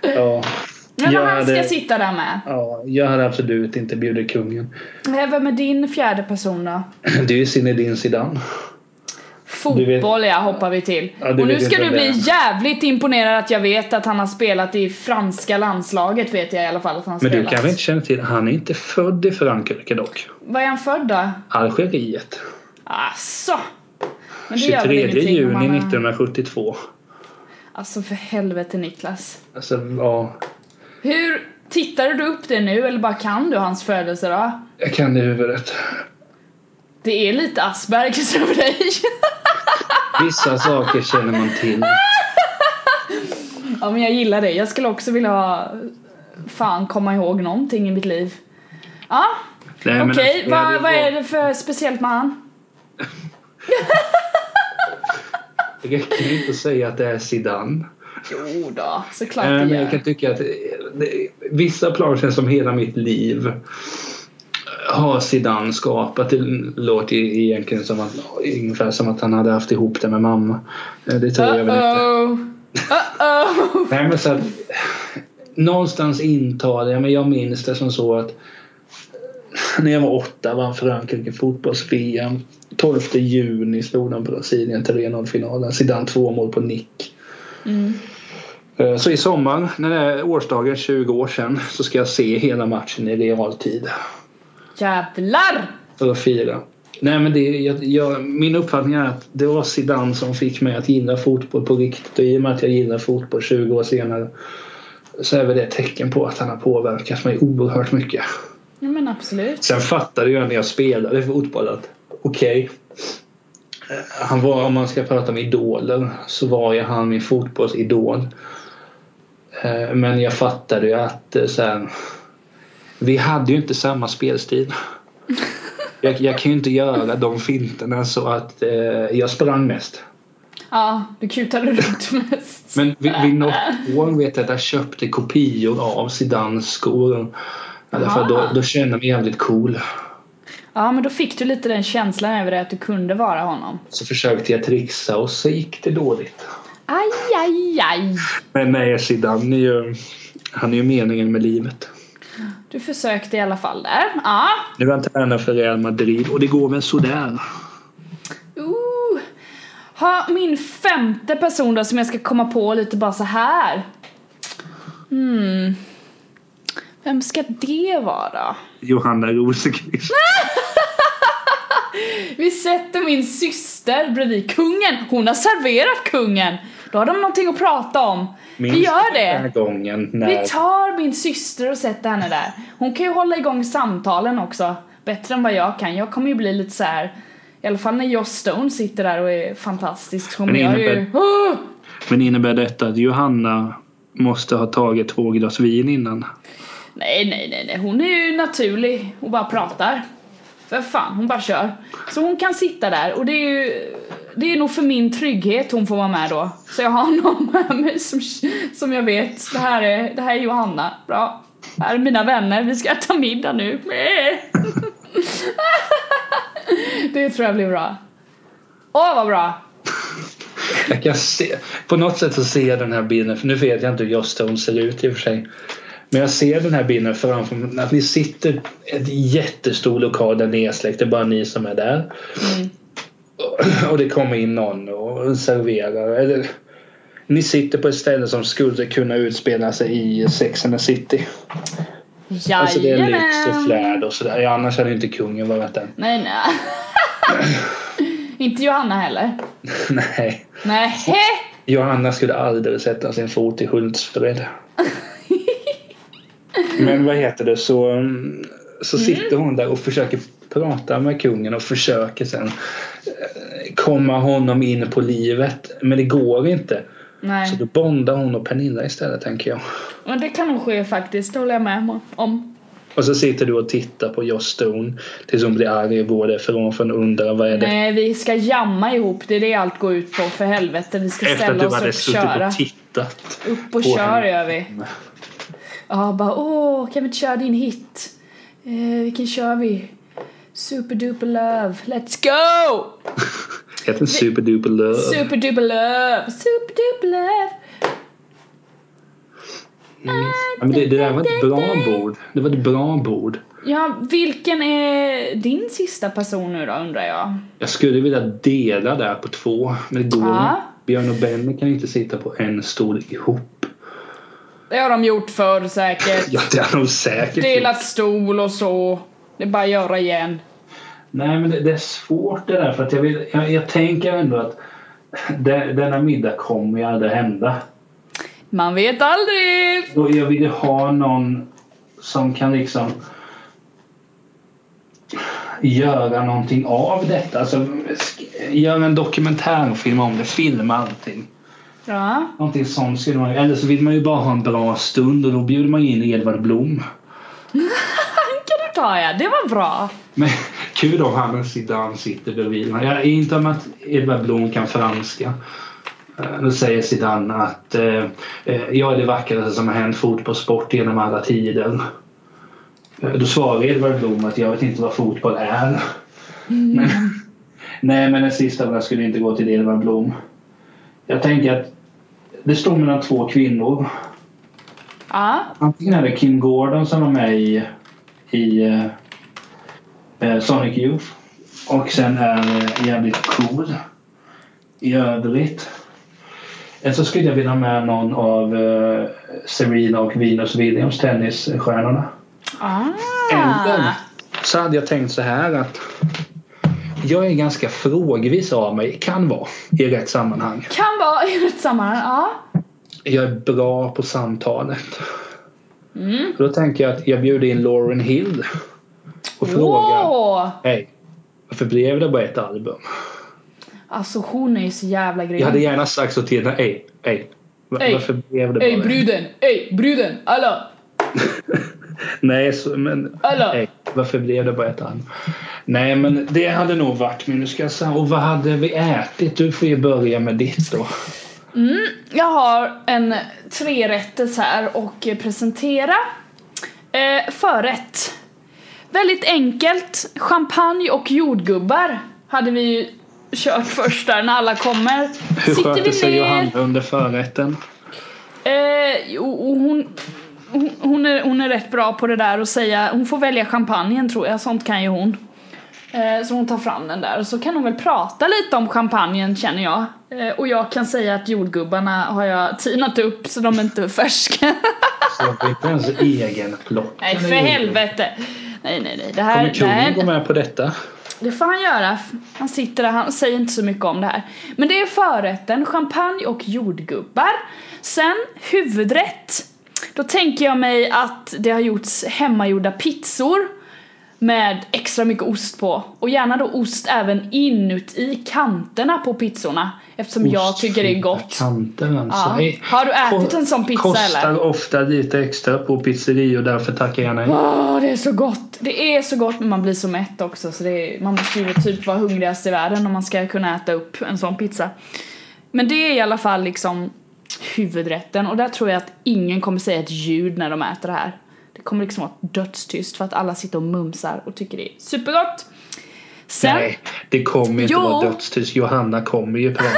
S1: Ja.
S2: Men
S1: Jag
S2: vad han ska
S1: hade-
S2: sitta där med.
S1: ja, jag hade absolut inte bjudit kungen.
S2: Eh, Vem är din fjärde person då?
S1: Det är ju Zinedine Zidane. vet-
S2: Fotboll ja, hoppar vi till.
S1: Ja, du
S2: och nu
S1: vet
S2: ska
S1: inte
S2: du
S1: vem det
S2: bli
S1: är.
S2: jävligt imponerad att jag vet att han har spelat i franska landslaget vet jag i alla fall att han har
S1: Men du
S2: spelat.
S1: kanske inte känner till, han är inte född i Frankrike dock.
S2: Var är han född då?
S1: Algeriet.
S2: Asså! Men det gör väl
S1: 23
S2: ingenting om man
S1: juni
S2: är-
S1: 1972.
S2: Alltså för helvete Niklas.
S1: Alltså, ja.
S2: Hur tittade du upp det nu eller bara kan du hans födelsedag?
S1: Jag kan det i huvudet.
S2: Det är lite Aspergers över dig.
S1: Vissa saker känner man till.
S2: ja men jag gillar det. Jag skulle också vilja ha... fan komma ihåg någonting i mitt liv. Ja,
S1: Nej, men
S2: okej.
S1: alltså, jag hade
S2: Vad
S1: ju
S2: vad är
S1: varit-
S2: det för speciellt med han?
S1: Det räcker inte att säga att det är Zidane.
S2: Jo då, såklart
S1: Nej,
S2: det
S1: Eh, men
S2: gör.
S1: jag kan tycka att eh, det, vissa planer känns som hela mitt liv har Zidane skapat. Det låter ju egentligen som att, ungefär som att han hade haft ihop det med mamma. Eh, Det tror jag väl inte.
S2: Uh-oh. Uh-oh.
S1: Nej, men så att, någonstans intalade jag, men jag minns det som så att när jag var åtta vann Frankrike fotbolls-VM. 12 juni slog de Brasilien till 3-0-finalen. Zidane två mål på nick.
S2: Mm.
S1: Eh, Så i sommar, när det är årsdagen 20 år sedan, så ska jag se hela matchen i realtid.
S2: Jävlar!
S1: För att fira. Nej men det, jag, jag, min uppfattning är att det var Zidane som fick mig att gilla fotboll på riktigt. Och i och med att jag gillar fotboll 20 år senare så är väl det ett tecken på att han har påverkat mig oerhört mycket.
S2: Ja men absolut.
S1: Sen fattade jag när jag spelade fotboll att okej. eh, han var, om man ska prata om idoler, så var ju han min fotbollsidol. Eh, Men jag fattade ju att eh, sen... Vi hade ju inte samma spelstil. Jag, jag kan ju inte göra de finterna så att eh, jag sprang mest.
S2: Ja, du kutade runt mest.
S1: Men vid, vid något år vet jag att jag köpte kopior av Zidanes skor. Därför att då, då kände jag mig jävligt cool.
S2: Ja men då fick du lite den känslan över det att du kunde vara honom.
S1: Så försökte jag trixa och så gick det dåligt.
S2: Aj, aj, aj.
S1: Men nej, Zidane är ju... Han är ju meningen med livet.
S2: Du försökte i alla fall där. Ja.
S1: Nu är han tränare för Real Madrid och det går väl sådär.
S2: Ooh. Uh. Ha, min femte person då som jag ska komma på lite bara så här. Hmm. Vem ska det vara?
S1: Johanna Rosenqvist.
S2: Vi sätter min syster bredvid kungen. Hon har serverat kungen. Då har de någonting att prata om. Vi gör
S1: den här
S2: det.
S1: gången när...
S2: Vi tar min syster och sätter henne där. Hon kan ju hålla igång samtalen också. Bättre än vad jag kan. Jag kommer ju bli lite så här. I alla fall när Joss Stone sitter där och är fantastisk. Hon
S1: Men det
S2: gör ju...
S1: innebär-
S2: Oh!
S1: Men innebär detta att Johanna måste ha tagit två glas vin innan?
S2: Nej, nej, nej, nej. Hon är ju naturlig och bara pratar. För fan, hon bara kör. Så hon kan sitta där och det är ju... Det är nog för min trygghet hon får vara med då. Så jag har någon med mig som, som jag vet, det här, är, det här är Johanna. Bra. Här är mina vänner, vi ska äta middag nu. Det tror jag blir bra. Åh, vad bra!
S1: Jag kan se, på något sätt så ser jag den här bilden, för nu vet jag inte hur Joss Stone ser ut i och för sig. Men jag ser den här bilden framför mig, att ni sitter i en jättestor lokal där ni är släkt, det är bara ni som är där. Och- Och det kommer in någon och serverar. Eller, ni sitter på ett ställe som skulle kunna utspela sig i Sex and the City.
S2: Jajamän!
S1: Alltså det är lyx och flärd och sådär. Ja, annars hade ju inte kungen varit där.
S2: Nej, nej. Inte Johanna heller.
S1: Nej.
S2: Nej.
S1: Johanna skulle aldrig sätta sin fot i Hultsfred. Men vad heter det så, mm, så sitter hon där och försöker prata med kungen och försöker sen eh, komma honom in på livet. Men det går inte. Så
S2: Nej,
S1: då bondar hon och Pernilla istället tänker jag.
S2: men det kan nog ske faktiskt, det håller jag med om.
S1: Och så sitter du och tittar på Joss Stone tills hon blir arg och går därifrån för hon undrar vad är det
S2: Nej, vi ska jamma ihop, det är det allt går ut på, för helvete. Vi ska
S1: efter att
S2: ställa
S1: du
S2: oss
S1: hade
S2: och
S1: suttit
S2: köra.
S1: och tittat.
S2: Upp och
S1: på
S2: kör
S1: henne.
S2: gör vi. Ja, bara åh, kan vi inte köra din hit? Eh, vilken kör vi? Super duper love, let's go!
S1: Heter den Super Duper Love?
S2: Super duper love, super duper love.
S1: Mm. Ja, men det, det där var ett bra bord. Det var ett bra bord.
S2: Ja, vilken är din sista person nu då undrar jag?
S1: Jag skulle vilja dela där på två, men det går
S2: Ja.
S1: inte. Björn och Benny kan ju inte sitta på en stol ihop.
S2: Det har de gjort förr säkert.
S1: Ja, det är nog säkert.
S2: Delat stol och så. Det är bara att göra igen.
S1: Nej, men det, det är svårt det där. För att jag, vill, jag, jag tänker ändå att de, denna middag kommer ju aldrig hända.
S2: Man vet aldrig!
S1: Och jag vill ju ha någon som kan liksom göra någonting av detta. Alltså, sk- göra en dokumentärfilm om det. Filma allting.
S2: Ja,
S1: Någonting sånt skulle man Eller så vill man ju bara ha en bra stund och då bjuder man in Edvard Blom.
S2: den kan du ta ja, det var bra.
S1: Men kul om han sitter, sitter bredvid. mig. Jag är inte om att Edvard Blom kan franska. Eh, Då säger Zidane att eh, eh, jag är det vackraste som har hänt fotbollssport genom alla tider. Eh, Då svarar Edvard Blom att jag vet inte vad fotboll är. Men, nej, men den sista var- skulle inte gå till Edvard Blom. Jag tänker att det står mellan två kvinnor.
S2: Ja,
S1: Antingen är det Kim Gordon som var med i, i eh, eh, Sonic Youth och sen är eh, jävligt cool i övrigt. Eller så skulle jag vilja ha med någon av eh, Serena och Venus Williams, tennisstjärnorna.
S2: Ah.
S1: Eller så hade jag tänkt så här att jag är ganska frågvis av mig, kan vara, i rätt sammanhang.
S2: Kan vara i ett sammanhang, ja.
S1: jag är bra på samtalet.
S2: Mm.
S1: Då tänker jag att jag bjuder in Lauren Hill och frågar
S2: Åh!
S1: Hej, varför blev det bara ett album?
S2: Alltså hon är ju så jävla grym.
S1: Jag hade gärna sagt så till henne, ej, ej. va-
S2: Ey.
S1: Varför blev det bara
S2: Ey
S1: ett?"
S2: bruden! Ey bruden! Alla!
S1: Nej, så, men
S2: Alla!
S1: ej, varför blev det bara ett album? Nej, men det hade nog varit min. Nu ska jag säga, och vad hade vi ätit? Du får ju börja med ditt då.
S2: Mm, jag har en trerättes här och eh, presentera. Eh, förrätt. Väldigt enkelt. Champagne och jordgubbar hade vi ju kört först där när alla kommer.
S1: Hur sköter sig Johanna under förrätten?
S2: Eh, jo, och hon, hon, hon, är, hon är rätt bra på det där och säga, hon får välja champagnen tror jag, sånt kan ju hon. Eh, så hon tar fram den där och så kan hon väl prata lite om champagnen känner jag. Eh, och jag kan säga att jordgubbarna har jag tinat upp så de är inte färska.
S1: Så jag får inte ens egen plock.
S2: nej för helvete! Nej nej nej, det här,
S1: Kommer
S2: det
S1: kungen gå
S2: här
S1: med på detta?
S2: det får han göra. Han sitter där, han säger inte så mycket om det här. Men det är förrätten, champagne och jordgubbar. Sen huvudrätt. Då tänker jag mig att det har gjorts hemmagjorda pizzor med extra mycket ost på. Och gärna då ost även inuti kanterna på pizzorna. Eftersom jag tycker det är gott.
S1: Kanten alltså.
S2: Ja.
S1: Ej,
S2: Har du ätit en sån pizza
S1: Kostar
S2: eller?
S1: ofta lite extra på pizzerior därför tackar jag nej.
S2: Åh, det är så gott! Det är så gott men man blir så mätt också så det är, man måste ju typ vara hungrigast i världen om man ska kunna äta upp en sån pizza. Men det är i alla fall liksom huvudrätten och där tror jag att ingen kommer säga ett ljud när de äter det här. Det kommer liksom vara dödstyst för att alla sitter och mumsar och tycker det är supergott. Sen,
S1: Nej, det kommer inte
S2: Jo.
S1: vara dödstyst. Johanna kommer ju prata.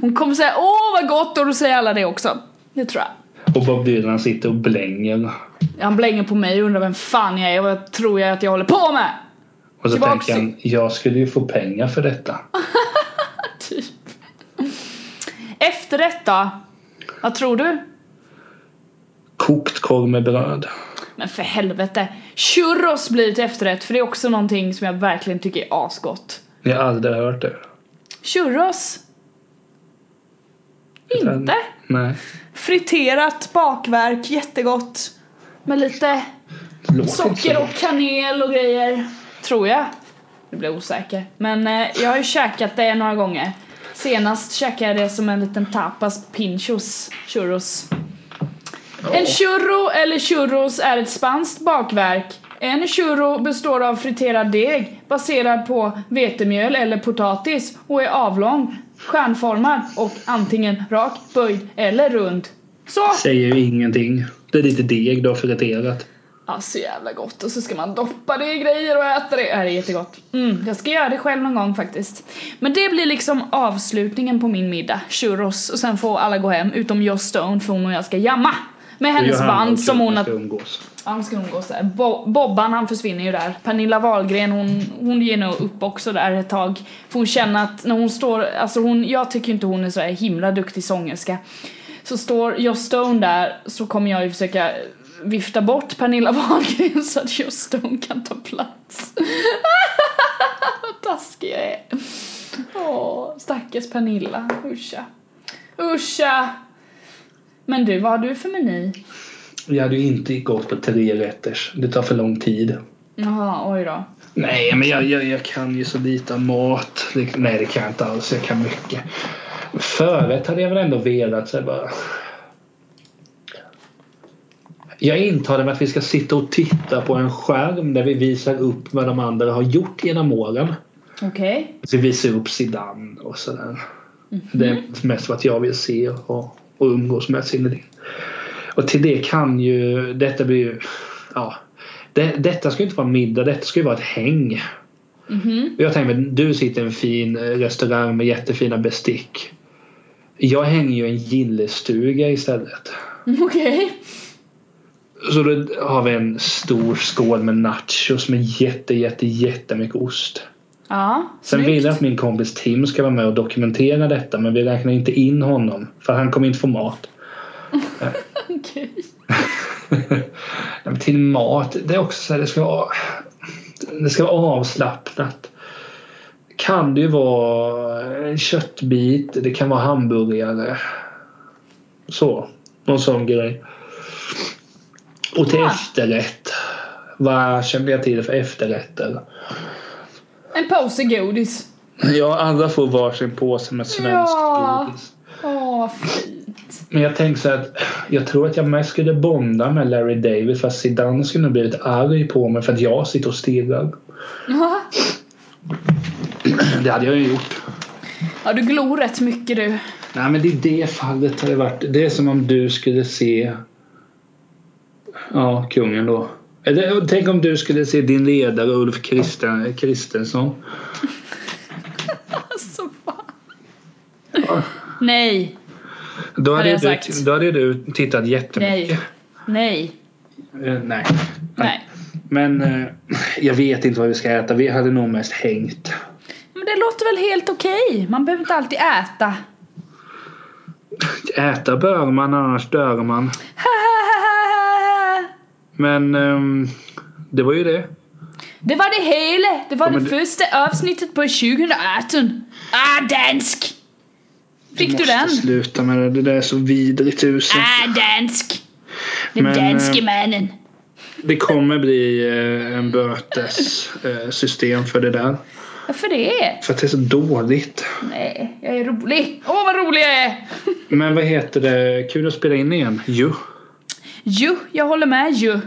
S2: hon kommer säga åh vad gott och då säger alla det också. Det tror jag.
S1: Och Bob Dylan sitter och blänger.
S2: Han blänger på mig och undrar vem fan jag är och vad tror jag att jag håller på med?
S1: Och så
S2: Tillbaks
S1: tänker han, jag skulle ju få pengar för detta.
S2: Typ. Efterrätt då? Vad tror du?
S1: Kokt korv med bröd.
S2: Men för helvete. Churros blir till efterrätt för det är också någonting som jag verkligen tycker är asgott.
S1: Jag har aldrig hört det.
S2: Churros? Inte?
S1: Nej.
S2: Friterat bakverk, jättegott. Med lite
S1: det låter inte så
S2: socker
S1: bra.
S2: och kanel och grejer. Tror jag. Nu blir jag osäker. Men eh, jag har ju käkat det några gånger. Senast käkade jag det som en liten tapas pinchos, churros. En churro eller churros är ett spanskt bakverk. En churro består av friterad deg baserad på vetemjöl eller potatis och är avlång, stjärnformad och antingen rak, böjd eller rund. Så!
S1: Säger ju ingenting. Det är lite deg du har friterat.
S2: Ja, så jävla gott. Och så ska man doppa det i grejer och äta det. Ja, det är jättegott. Mm, jag ska göra det själv någon gång faktiskt. Men det blir liksom avslutningen på min middag. Churros. Och sen får alla gå hem, utom Joss Stone för hon och jag ska jamma. Med
S1: Och
S2: hennes
S1: Johanna och
S2: band som hon
S1: Jonas
S2: har...
S1: ska umgås.
S2: Ja, de ska umgås där. Bo- Bobban han försvinner ju där. Pernilla Wahlgren hon, hon ger nog upp också där ett tag. För hon känner att när hon står, alltså hon, jag tycker inte hon är så här himla duktig sångerska. Så står Joss Stone där så kommer jag ju försöka vifta bort Pernilla Wahlgren så att Joss Stone kan ta plats. Vad taskig jag är. Åh, stackars Pernilla. Uscha. Uscha! Men du, vad har du för meny?
S1: Jag hade ju inte gått på tre rätters. Det tar för lång tid.
S2: Jaha, oj då.
S1: Nej, men jag, jag, jag kan ju så lite om mat. Det, nej, det kan jag inte alls. Jag kan mycket. Förrätt hade jag väl ändå velat sig bara. Jag intalar mig att vi ska sitta och titta på en skärm där vi visar upp vad de andra har gjort genom åren.
S2: Okej.
S1: Så vi visar upp Zidane och sådär. Det är mest vad jag vill se och, och umgås med Zinedine. Och till det kan ju detta blir ju... Ja, det, detta ska ju inte vara middag, detta ska ju vara ett häng.
S2: Mhm.
S1: Jag tänker mig, du sitter i en fin eh, restaurang med jättefina bestick. Jag hänger ju i en gillestuga istället.
S2: Okej.
S1: Så då har vi en stor skål med nachos med jätte, jätte, jättemycket ost.
S2: Ja.
S1: Sen
S2: snyggt.
S1: vill jag att min kompis Tim ska vara med och dokumentera detta men vi räknar inte in honom för han kommer inte få mat.
S2: Okej.
S1: Ja, men Till mat, det är också så här, det ska vara, det ska vara avslappnat. Kan det ju vara en köttbit, det kan vara hamburgare. Så. Någon sån grej. Och till
S2: Ja.
S1: efterrätt. Vad kände jag till för efterrätter?
S2: En påse godis.
S1: Ja, alla får varsin påse med svensk
S2: Ja.
S1: godis.
S2: Åh, vad fint.
S1: Men jag tänkte så här att jag tror att jag mest skulle bonda med Larry David fast Zidane skulle nog blivit arg på mig för att jag sitter och stirrar. Det hade jag ju gjort.
S2: Ja, du glor rätt mycket du.
S1: Nej men i det fallet har det varit, det är som om du skulle se Ja, kungen då. Eller tänk om du skulle se din ledare Ulf Kristen, Kristensson.
S2: Alltså fan.
S1: Ah.
S2: Nej,
S1: Då hade,
S2: jag
S1: du,
S2: sagt.
S1: då hade du tittat jättemycket.
S2: nej, nej,
S1: Nej. nej.
S2: nej.
S1: Men eh, jag vet inte vad vi ska äta. Vi hade nog mest hängt.
S2: Men det låter väl helt okej? Man behöver inte alltid äta.
S1: Äta bör man, annars dör man. Men ehm, det var ju det.
S2: Det var det hela. Det var
S1: Ja, men
S2: det
S1: det-
S2: första avsnittet på 2018. Ah, dansk! Fick du
S1: måste
S2: den?
S1: sluta med det. Det där är så vidrigt tusen.
S2: Ah, dansk! Den
S1: Men,
S2: danske
S1: eh,
S2: mannen.
S1: Det kommer bli eh, en bötessystem för det där.
S2: Varför det?
S1: För att det är så dåligt.
S2: Nej, jag är rolig. Åh, vad rolig jag är!
S1: Men vad heter det? Kul att spela in igen. Jo.
S2: Jo, jag håller med ju.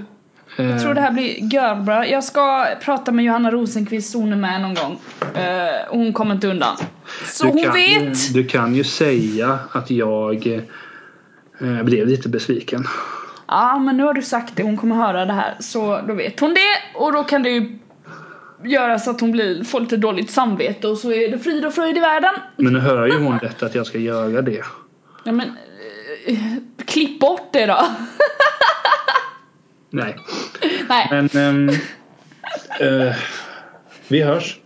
S2: Jag
S1: Eh,
S2: tror det här blir görbra. Jag ska prata med Johanna Rosenqvist Sonenman någon gång. Eh, hon kommer inte undan. Så hon
S1: kan, ju-
S2: vet!
S1: Du kan ju säga att jag eh, blev lite besviken.
S2: Ja, men nu har du sagt det. Hon kommer höra det här. Så då vet hon det. Och då kan det ju göra så att hon blir, får lite dåligt samvete och så är det frid och fröjd i världen.
S1: Men nu hör ju hon detta att jag ska göra det.
S2: Ja, men... eh, klipp bort det då.
S1: Nej.
S2: Nej,
S1: Men ehm, eh, vi hörs.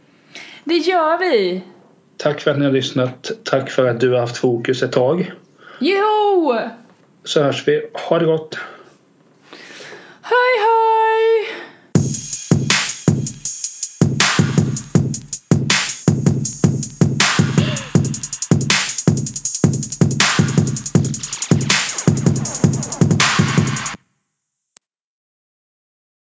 S2: det gör vi.
S1: Tack för att ni har lyssnat. Tack för att du har haft fokus ett tag.
S2: Jo!
S1: Så hörs vi. Ha det gott.
S2: Hej hej!